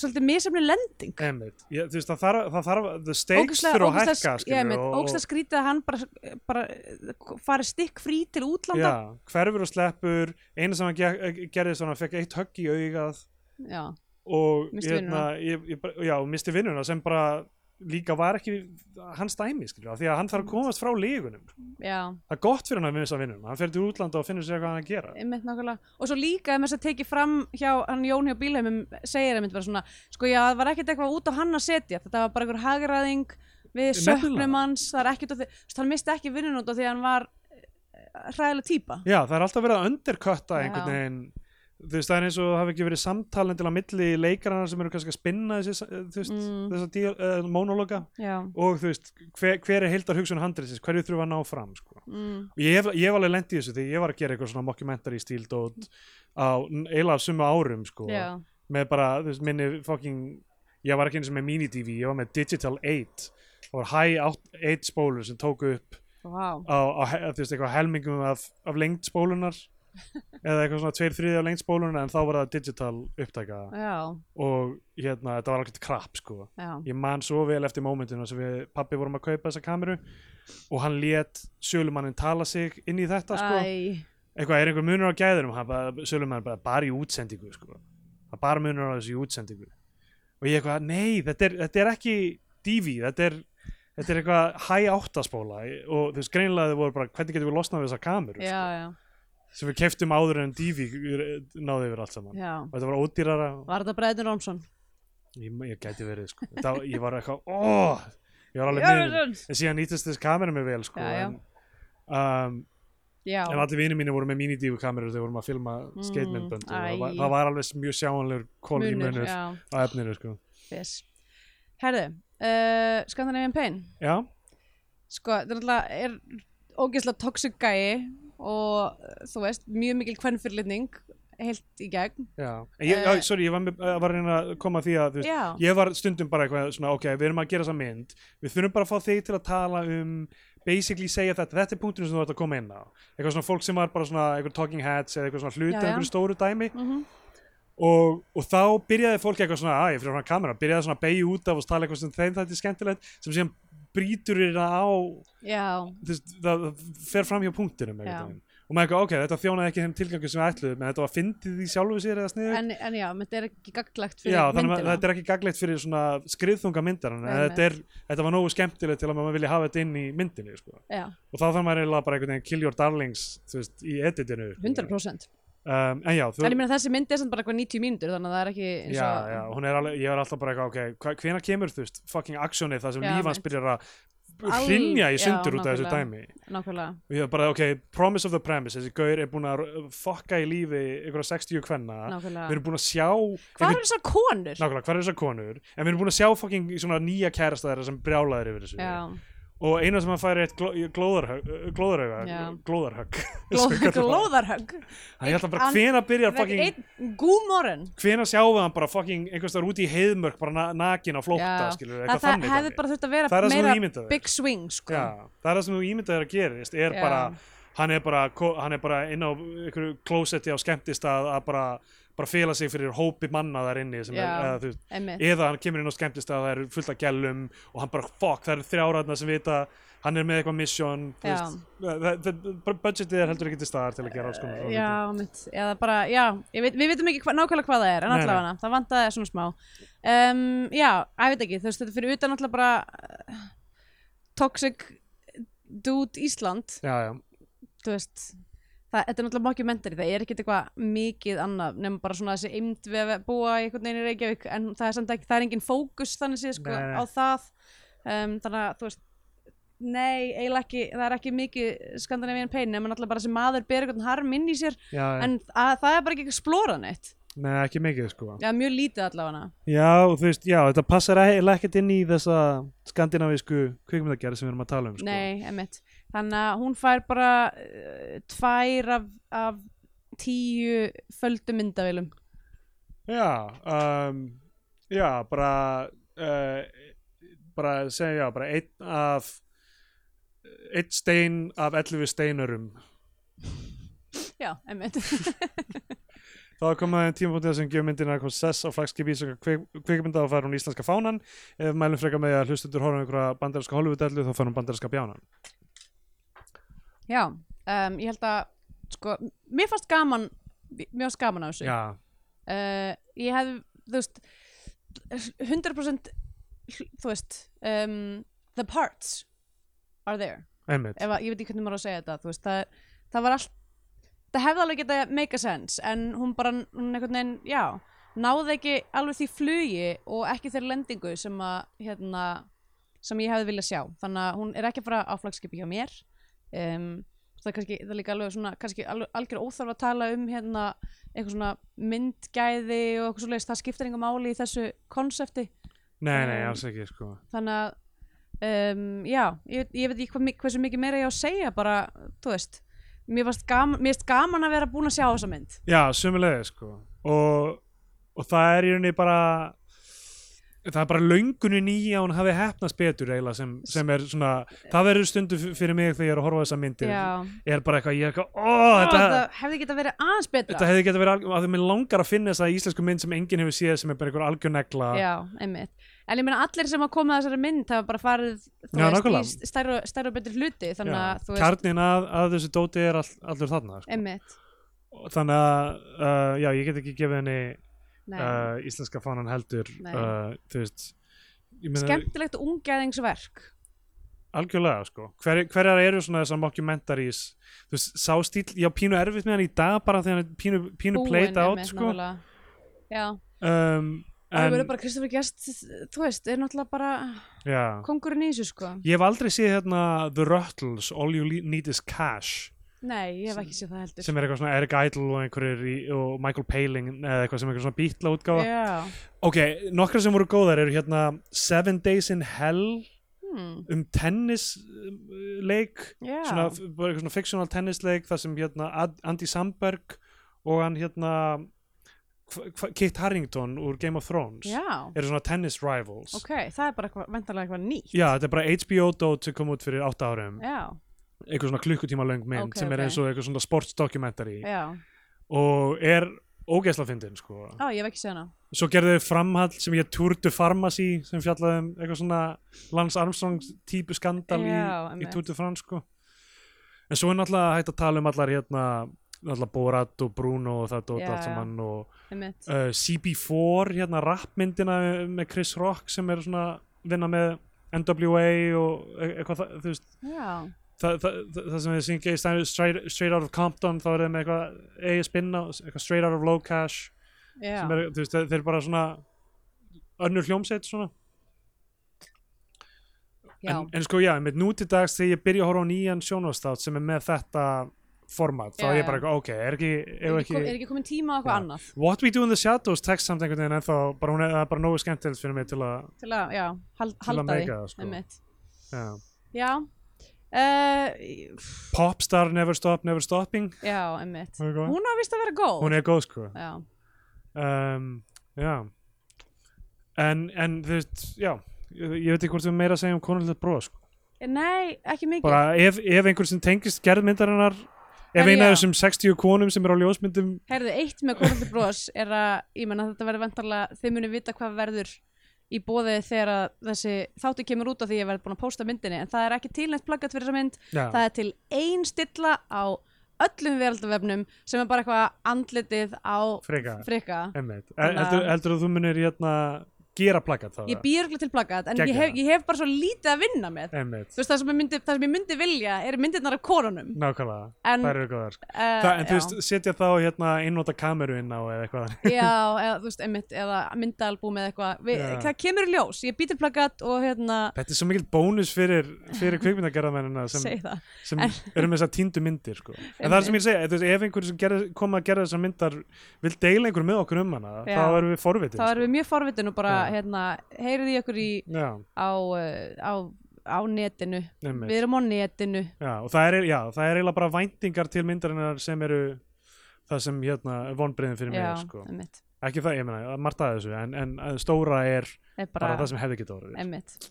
Speaker 1: svolítið misjafni lending
Speaker 2: Einmitt. Ég, þú veist, það þarf, það þarf, the stakes
Speaker 1: Ógeðslega-
Speaker 2: þurfa að
Speaker 1: ógeðslega-
Speaker 2: hækka,
Speaker 1: já,
Speaker 2: skilur,
Speaker 1: einmitt, ógeðslega skrítið að hann bara, bara eh, fari stikk frí til útlanda
Speaker 2: Já, hverfur og sleppur eina sem hann ge- eh, gerði svona fekk eitt högg í augað
Speaker 1: Já,
Speaker 2: og hérna,
Speaker 1: Missti vinnuna.
Speaker 2: ég, ég, bara- já, og misti vinnuna sem bara líka var ekki hans dæmi skilur, því að hann þarf að komast frá lígunum
Speaker 1: já,
Speaker 2: það er gott fyrir hann að missa vinnuna hann fer til útlanda og finnur sér hvað hann að gera
Speaker 1: einmitt nákvæmlega og svo líka ef þess að teki fram hjá hann Jón hjá bílheimum segir einmitt bara svona sko já, það var ekkert eitthvað út á hann að setja þetta var bara einhver hagraðing við
Speaker 2: Nefnilega.
Speaker 1: söknum hans, það er ekkert á því þú veist, hann misti ekki vinnun út af því að hann var eh, hræðilega típa
Speaker 2: já, það er alltaf verið að underkötta
Speaker 1: Já.
Speaker 2: einhvern veginn þú veist, það er eins og það hafi ekki verið samtalen til að milli leikarana sem eru kannski að spinna þessi, eh, þú veist,
Speaker 1: Mm.
Speaker 2: þessa díl, uh, monóloga
Speaker 1: já,
Speaker 2: og þú veist, hver, hver er heildar hugsun handriðsins, hverju þurfa að ná fram sko?
Speaker 1: mm,
Speaker 2: Og ég hef, ég hef alveg lent í þessu þegar ég var að gera eitthvað svona mockumentary stíl dót á n- eiginlega á sumu árum sko
Speaker 1: já,
Speaker 2: með bara, þú veist, minni fucking ég var ekki eins og með mini-tv, ég var með Digital 8 það var high átt- 8 spólur sem tóku upp
Speaker 1: vá
Speaker 2: á, á he- þú veist, eitthvað helmingum af, af lengd spólunar eða eitthvað svona tveir þriði af lengd spólunar en þá var það digital upptæka
Speaker 1: já, og
Speaker 2: og hérna, þetta var alveg krap sko
Speaker 1: já,
Speaker 2: ég man svo vel eftir mómentinu sem við pappi vorum að kaupa þessa kameru og hann lét sölumannin tala sig inn í þetta sko
Speaker 1: æ
Speaker 2: eitthvað er einhver munur á gæðunum hann bara, sölumann bara, bara í útsendingu sko. það bara munur á þessu í útsendingu og ég eitthvað, nei, þetta er, þetta er ekki divi, þetta er þetta er eitthvað hæ áttaspóla og þú veist greinilega þau voru bara, hvernig getum við losnað við þessa kameru
Speaker 1: já, já,
Speaker 2: sko, sem við keftum áður en divi náði yfir allt saman
Speaker 1: já
Speaker 2: og þetta var ódýrara
Speaker 1: var þetta Bræðin Rómsson?
Speaker 2: ég, ég gæti verið, sko þetta, ég var eitthvað, óh ég var alveg niður
Speaker 1: Bræðin
Speaker 2: en síðan nýtast þess kamera mér vel sko,
Speaker 1: Já, já.
Speaker 2: En, um,
Speaker 1: já,
Speaker 2: en allir vinir mínir voru með minidífu kamerur þegar vorum að filma
Speaker 1: Mm,
Speaker 2: mm, skeitmyndbönd og
Speaker 1: æ.
Speaker 2: það var, það var alveg mjög sjáanlegur kólur í
Speaker 1: munur,
Speaker 2: munur
Speaker 1: já,
Speaker 2: á efninu sko.
Speaker 1: fyrst herðu, uh, Scandinavian Pain
Speaker 2: já,
Speaker 1: sko, þetta er náttúrulega er ógeðslega toxic gæi og uh, þú veist, mjög mikil kvennfyrlitning heilt í gegn
Speaker 2: já. En Ég,
Speaker 1: Eh.
Speaker 2: uh, sorry, ég var, með, eh, var að reyna að koma að því að þú veist,
Speaker 1: já,
Speaker 2: ég var stundum bara eitthvað svona, ok, við erum að gera þessa mynd við þurfum bara að fá þig til að tala um basically segja þetta, þetta er punkturinn sem þú ert að koma inn á eitthvað svona fólk sem var bara svona eitthvað talking heads eða eitthvað svona hluti,
Speaker 1: Já, já.
Speaker 2: eitthvað stóru dæmi
Speaker 1: mm -hmm.
Speaker 2: og, og þá byrjaði fólk eitthvað svona að ég fyrir frá kamera, byrjaði svona að beigja út af og tala eitthvað sem þeim þetta er skemmtilegt sem síðan brýtur þeirra á
Speaker 1: já,
Speaker 2: þess, það, það fer fram hjá punktinum
Speaker 1: Já.
Speaker 2: einhvern veginn. og maður eitthvað, ok, þetta þjónaði ekki þeim tilgangu sem við ætluðum, en þetta var fyndið í sjálfu sér eða sniður,
Speaker 1: en, en já, menn þetta er ekki gaglagt fyrir
Speaker 2: já, þannig að
Speaker 1: myndina
Speaker 2: þetta er ekki gaglegt fyrir svona skriðþunga myndarinn, en
Speaker 1: Nei,
Speaker 2: þetta, er, þetta var nógu skemmtilegt til að maður vilja hafa þetta inn í myndinni, sko.
Speaker 1: já,
Speaker 2: og þá þarf maður eiginlega bara einhvern veginn kill your darlings, þú veist, í editinu sko.
Speaker 1: 100%
Speaker 2: um, en já, þú,
Speaker 1: en ég meina þessi mynd er samt bara eitthvað 90 mínútur þannig að það er ekki eins
Speaker 2: já,
Speaker 1: og
Speaker 2: já, hún er alveg, ég er alltaf bara eitthvað, ok, hvena kemur þú veist, fucking actionið þar sem
Speaker 1: Já,
Speaker 2: lífans
Speaker 1: mitt.
Speaker 2: byrjar að
Speaker 1: Al-
Speaker 2: hrinja í
Speaker 1: já,
Speaker 2: sundur út af þessu
Speaker 1: nákvæmlega.
Speaker 2: dæmi
Speaker 1: nákvæmlega
Speaker 2: og ég er bara, ok, promise of the premise þessi gaur er búin að r- fokka í lífi einhverja 60 kvenna,
Speaker 1: nákvæmlega
Speaker 2: við erum búin að sjá
Speaker 1: hvað eru þessar konur?
Speaker 2: nákvæmlega, hvað er þessar konur en við erum búin að sjá fucking svona nýja kærasta þeirra sem brjálaðir yfir þessu
Speaker 1: já,
Speaker 2: og eina sem hann fær er eitt gló, glóðarhögg glóðarhögg,
Speaker 1: Já.
Speaker 2: glóðarhögg
Speaker 1: Glóð, glóðarhögg
Speaker 2: hann ég ætla bara,
Speaker 1: Einn
Speaker 2: hvena byrjar fucking
Speaker 1: einn gúmorinn
Speaker 2: hvena sjáum við hann bara fucking einhverstaðar úti í heiðmörk bara na nakin á flótta,
Speaker 1: Já.
Speaker 2: skilur
Speaker 1: það,
Speaker 2: eitthvað
Speaker 1: það
Speaker 2: þannig
Speaker 1: hefði
Speaker 2: dæmi.
Speaker 1: bara þurft að
Speaker 2: það er
Speaker 1: vera
Speaker 2: það sem þú
Speaker 1: meira
Speaker 2: ímyndaðir
Speaker 1: big swing sko.
Speaker 2: Já, það er það sem þú ímyndaðir að gerist er
Speaker 1: Já.
Speaker 2: bara, hann er bara ko- hann er bara inn á einhverju klósetti á skemmtist að, að bara, bara fela sig fyrir hópi manna þar inni sem er,
Speaker 1: Já.
Speaker 2: eða, þú veist,
Speaker 1: einmitt
Speaker 2: eða hann kemur inn á skemmtist að það eru fullt af gælum og hann bara fuck, það eru þrjáraðna sem vita hann er með eitthvað mission þú
Speaker 1: Já.
Speaker 2: veist, það, það, það, budgetið er heldur ekki til staðar til að gera alls konar svona hluti.
Speaker 1: Já, mitt, eða bara, já, ég veit, við veitum ekki hva, nákvæmlega hvað það er, en
Speaker 2: Nei, nei.
Speaker 1: allavega það vantaði svona smá. Um, já, að ég veit ekki, þú veist, þetta er fyrir utan alltaf bara uh, toxic dude Ísland,
Speaker 2: já, já,
Speaker 1: þú veist, það, þetta er náttúrulega mockumentary, það er ekkert eitthvað mikið annað, nema bara svona þessi eimd við að búa í einhvern veginn í Reykjavík, en það er samt ekki, það er engin fókus þannig séð, sko,
Speaker 2: Nei, nei.
Speaker 1: á það, um, þannig að, þú veist, nei, eiginlega ekki, það er ekki mikið skandinavíðan pein, nema náttúrulega bara sem maður ber eitthvað harm inn í sér,
Speaker 2: já,
Speaker 1: en að, það er bara ekki explorað neitt,
Speaker 2: nei, ekki mikið sko
Speaker 1: já, mjög lítið allavega
Speaker 2: já, og þú veist, já, þetta passar e-, eiginlega ekkert inn í þessa skandinavísku kvikmyndagerð sem við erum að tala um sko.
Speaker 1: Nei, emitt. Þannig að hún fær bara uh, tvær af, af tíu földu myndavélum.
Speaker 2: já, um, já, bara uh, bara segja, já, bara einn af einn stein af 11 steinurum
Speaker 1: Já, emitt.
Speaker 2: Þá kom það einn tímapunktið sem gefur myndina eitthvað sess á flagskipi íslenska kvik- kvikmynda og fær hún íslenska fánan. Ef mælum frekar með því að hlustendur horfum einhverja bandarinska holvudellu þá fær hún bandarinska bjánan.
Speaker 1: Já, um, ég held að, sko, mér fannst gaman, mér fannst gaman á þessu.
Speaker 2: Já,
Speaker 1: Uh, ég hef, þú veist, 100% hl- þú veist, um, the parts are there.
Speaker 2: einmitt.
Speaker 1: ef að, ég veit ekki hvernig maður á að segja þetta þú veist, það, það var allt það hefði alveg geta make a sense en hún bara, hún einhvern veginn, já náði ekki alveg því flugi og ekki þeirri lendingu sem að hérna, sem ég hefði viljað sjá þannig að hún er ekki að fara á flagskipi hjá mér um, það er kannski það er líka alveg svona, kannski alveg algjör óþarf að tala um hérna, eitthvað svona myndgæði og eitthvað svoleiðis, það skiptir engum máli í þessu konsepti
Speaker 2: Nei, nei,
Speaker 1: um,
Speaker 2: alls ekki, sko.
Speaker 1: þannig að um, já, ég, ég veit ekki hva, hversu mikið meira ég á að segja bara, þú veist mér varst gaman, mér varst gaman að vera búin að sjá þessa mynd
Speaker 2: Já, sömulega, sko. Og, og það er í rauninni bara það er bara löngunin í að hún hafi hefnast betur eiginlega sem, sem er svona það verður stundu fyrir mig þegar ég er að horfa á þessa myndir
Speaker 1: já,
Speaker 2: er bara eitthvað, ég er eitthvað, ó,
Speaker 1: þetta,
Speaker 2: þetta,
Speaker 1: hefði geta verið aðeins betra
Speaker 2: Þetta hefði getið verið algjör, að því mér langar að finna þessa íslensku mynd sem enginn hefur séð sem er bara einhver algjör negla.
Speaker 1: já, einmitt en ég meina allir sem að koma að þessari mynd hafa bara farið þú
Speaker 2: Já,
Speaker 1: veist,
Speaker 2: nákvæmlega.
Speaker 1: í st- stærri, og- stærri og betri hluti þannig að þú veist,
Speaker 2: Kjarnin að, að þessu dóti er all, allur þarna. Sko.
Speaker 1: einmitt
Speaker 2: Og Þannig að, uh, já, ég get ekki gefið henni
Speaker 1: Nei.
Speaker 2: uh, íslenska fánan heldur,
Speaker 1: Nei.
Speaker 2: uh, þú veist, ég meina
Speaker 1: skemmtilegt ungæðingsverk
Speaker 2: algjörlega, sko. Hver, hverjar eru svona þessar mockumentaries, þú veist, sá stíl, já, pínu erfitt með hann í dag bara þegar hann er pínu, pínu played out,
Speaker 1: einmitt,
Speaker 2: sko.
Speaker 1: nákvæmlega. já,
Speaker 2: Um,
Speaker 1: það
Speaker 2: en,
Speaker 1: verður bara Kristoffer Gjast þú veist, er náttúrulega bara
Speaker 2: já.
Speaker 1: kongurinn í þessu sko
Speaker 2: Ég hef aldrei séð hérna The Ruttles, All You Le- Need Is Cash.
Speaker 1: nei, ég hef ekki séð það heldur
Speaker 2: sem er eitthvað svona Eric Idle og einhverjir í, og Michael Paling eða eitthvað sem er eitthvað svona bítla útgáfa
Speaker 1: Já,
Speaker 2: ok, nokkra sem voru góðar eru hérna Seven Days in Hell
Speaker 1: hmm.
Speaker 2: um tennisleik
Speaker 1: já.
Speaker 2: svona, f- bara eitthvað svona fictional tennisleik þar sem hérna Ad- Andy Samberg og hann hérna hva- hva- Kit Harington úr Game of Thrones
Speaker 1: já,
Speaker 2: eru svona tennis rivals
Speaker 1: ok, það er bara eitthvað, vendarlega eitthvað nýtt
Speaker 2: Já, þetta er bara HBO dót sem kom út fyrir átta árum
Speaker 1: Já,
Speaker 2: eitthvað svona klukkutíma löng mynd
Speaker 1: Ok,
Speaker 2: sem er
Speaker 1: ok.
Speaker 2: eins og eitthvað svona sportsdokumentari
Speaker 1: já,
Speaker 2: og er ógeðsla fyndin sko
Speaker 1: á, ég hef ekki séð hana
Speaker 2: svo gerðu þau framhald sem ég Tourdu Pharmacy sem fjallaði um eitthvað svona Lance Armstrong típu skandal
Speaker 1: Já,
Speaker 2: í, í
Speaker 1: einmitt.
Speaker 2: Tourdu France sko. en svo er náttúrulega hægt að tala um allar hérna náttúrulega Borat og Bruno og það dót
Speaker 1: Já,
Speaker 2: allt
Speaker 1: já.
Speaker 2: saman og
Speaker 1: einmitt.
Speaker 2: uh, CB4 hérna rappmyndina með Chris Rock sem er svona vinna með NWA og e- eitthvað það, þú veist
Speaker 1: Já,
Speaker 2: það, það, það, það sem þið syngja í stæðu straight, straight Out of Compton þá er það með eitthvað eigi spinna, eitthvað Straight Out of Low Cash
Speaker 1: já,
Speaker 2: sem er, þú veist, þeir eru bara svona önnur hljómsveit svona
Speaker 1: já,
Speaker 2: en, en sko já, með nú til dags þegar ég byrja að horfa á nýjan sjónvastátt sem er með þetta format, þá
Speaker 1: Já,
Speaker 2: er ég
Speaker 1: já.
Speaker 2: bara eitthvað, ok, er ekki,
Speaker 1: er
Speaker 2: er
Speaker 1: ekki,
Speaker 2: ekki,
Speaker 1: kom, er ekki komin tíma á eitthvað
Speaker 2: Já.
Speaker 1: annað
Speaker 2: What We Do in the Shadows tekst samt einhvern veginn ennþá, bara hún er, það er bara nógu skemmtilegt fyrir mig til að,
Speaker 1: til að, já, hal,
Speaker 2: til að
Speaker 1: halda því
Speaker 2: meika það sko.
Speaker 1: einmitt.
Speaker 2: Já.
Speaker 1: Já, uh,
Speaker 2: Popstar Never Stop, Never Stopping
Speaker 1: já, einmitt
Speaker 2: hún er, góð.
Speaker 1: Hún á vist að vera góð
Speaker 2: hún er góð sko
Speaker 1: Já,
Speaker 2: um, já en, en þú veist, já ég, ég veit ekki hvort við meira að segja um konulegt bróð sko.
Speaker 1: nei, ekki mikið
Speaker 2: bara ef, ef einhver sem tengist gerðmyndarinnar ef
Speaker 1: Herri, já.
Speaker 2: eina af þessum 60 konum sem eru á ljósmyndum
Speaker 1: Herðu, eitt með konandi bros er að, ég menna þetta verður vantarlega, þið munið vita hvað verður í bóði þegar að þessi þáttu kemur út af því ég verður búin að pósta myndinni en það er ekki tilnætt plaggat fyrir þessa mynd
Speaker 2: já,
Speaker 1: það er til ein stilla á öllum veraldavefnum sem er bara eitthvað andlitið á
Speaker 2: freka
Speaker 1: frikka
Speaker 2: einmitt.
Speaker 1: Þannig að-
Speaker 2: heldur, heldur að þú munir hérna gera plakat það
Speaker 1: ég býr örugglega til plakat en ég
Speaker 2: Geggjað.
Speaker 1: hef, ég hef bara svo lítið að vinna með
Speaker 2: Einmitt,
Speaker 1: þú veist það sem ég myndi, það sem ég myndi vilja er myndirnar af konunum
Speaker 2: nákvæmlega,
Speaker 1: En-
Speaker 2: Mm. það eru góðar sko.
Speaker 1: uh,
Speaker 2: það, En þú veist, setja þá hérna einnota kameru inn á eða eitthvað þannig.
Speaker 1: já, eða, þú veist, einmitt, eða myndaalbúm eða eitthvað Vi,
Speaker 2: Já.
Speaker 1: það kemur í ljós, ég býtir plakat og hérna,
Speaker 2: Þetta er svo mikill bónus fyrir, fyrir kvikmyndagerðamennina sem,
Speaker 1: segi það
Speaker 2: sem eru með þessar týndu myndir sko. En það er sem ég segja, þú veist, ef einhverjum sem gerði, kom að gera þessar myndar vil deila einhverjum með okkur um hana
Speaker 1: Já.
Speaker 2: þá erum við forvitin
Speaker 1: þá erum við mjög forvitin og bara,
Speaker 2: Já.
Speaker 1: hérna, heyrið í okkur í
Speaker 2: sko. Já,
Speaker 1: á, uh, á, á netinu
Speaker 2: einmitt.
Speaker 1: við erum á netinu
Speaker 2: Já, og það er, já, það er eiginlega bara væntingar til myndarinnar sem eru það sem hérna vonbreyðin fyrir
Speaker 1: já,
Speaker 2: mig sko.
Speaker 1: einmitt,
Speaker 2: ekki það, ég meina, margt að þessu en, en að stóra er
Speaker 1: er
Speaker 2: bara
Speaker 1: bara,
Speaker 2: það sem hefði getið orðið
Speaker 1: einmitt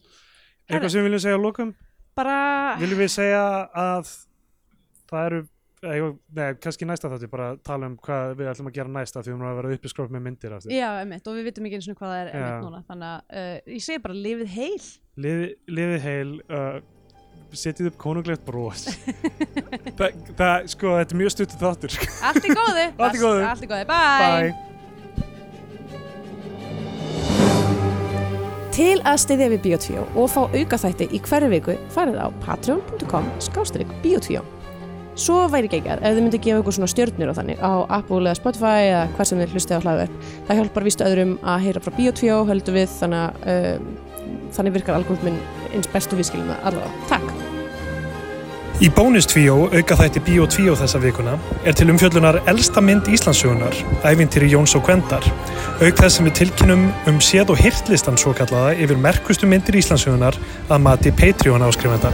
Speaker 2: eitthvað sem við viljum segja að lokum,
Speaker 1: bara,
Speaker 2: viljum við segja að það eru eitthvað, nei, kannski í næsta þátti bara tala um hvað við ætlum að gera næsta því við erum að vera uppiskróf með myndir aftur.
Speaker 1: já, einmitt og við vitum ekki eins og hvað það er einmitt
Speaker 2: Já.
Speaker 1: núna þannig að uh, ég segi bara lifið heil
Speaker 2: Lifi, lifið heil uh, setjið upp konunglegt bros það, það, sko, þetta er mjög stuttu þáttur sko.
Speaker 1: allt í góðu
Speaker 2: Allt í góðu.
Speaker 1: allt í góðu,
Speaker 2: bye
Speaker 1: Til að styðja við Bíotvíó og fá aukaþætti í hverju viku farið á patreon.com skástrík Bíotvíó. Svo væri geggjað ef þið myndi gefa ykkur svona stjörnur og þannig á Apple eða Spotify eða hvað sem þið hlustið á hlaðverð. Það hjálpar vístu öðrum að heyra frá Bíotvíó, höldum við, þannig, að, um, þannig virkar algoritminn eins bestu viðskilum það allavega. Takk!
Speaker 3: Í bónustvíó, auka þætti Bíó 2 þessa vikuna, er til umfjöllunar elsta mynd Íslandsugunar, ævintýri Jóns og Gvendar. Auk þess sem við tilkynum um séð og hirtlistan svo kallaða yfir merkustu myndir Íslandsugunar að mati Patreon áskrifenda.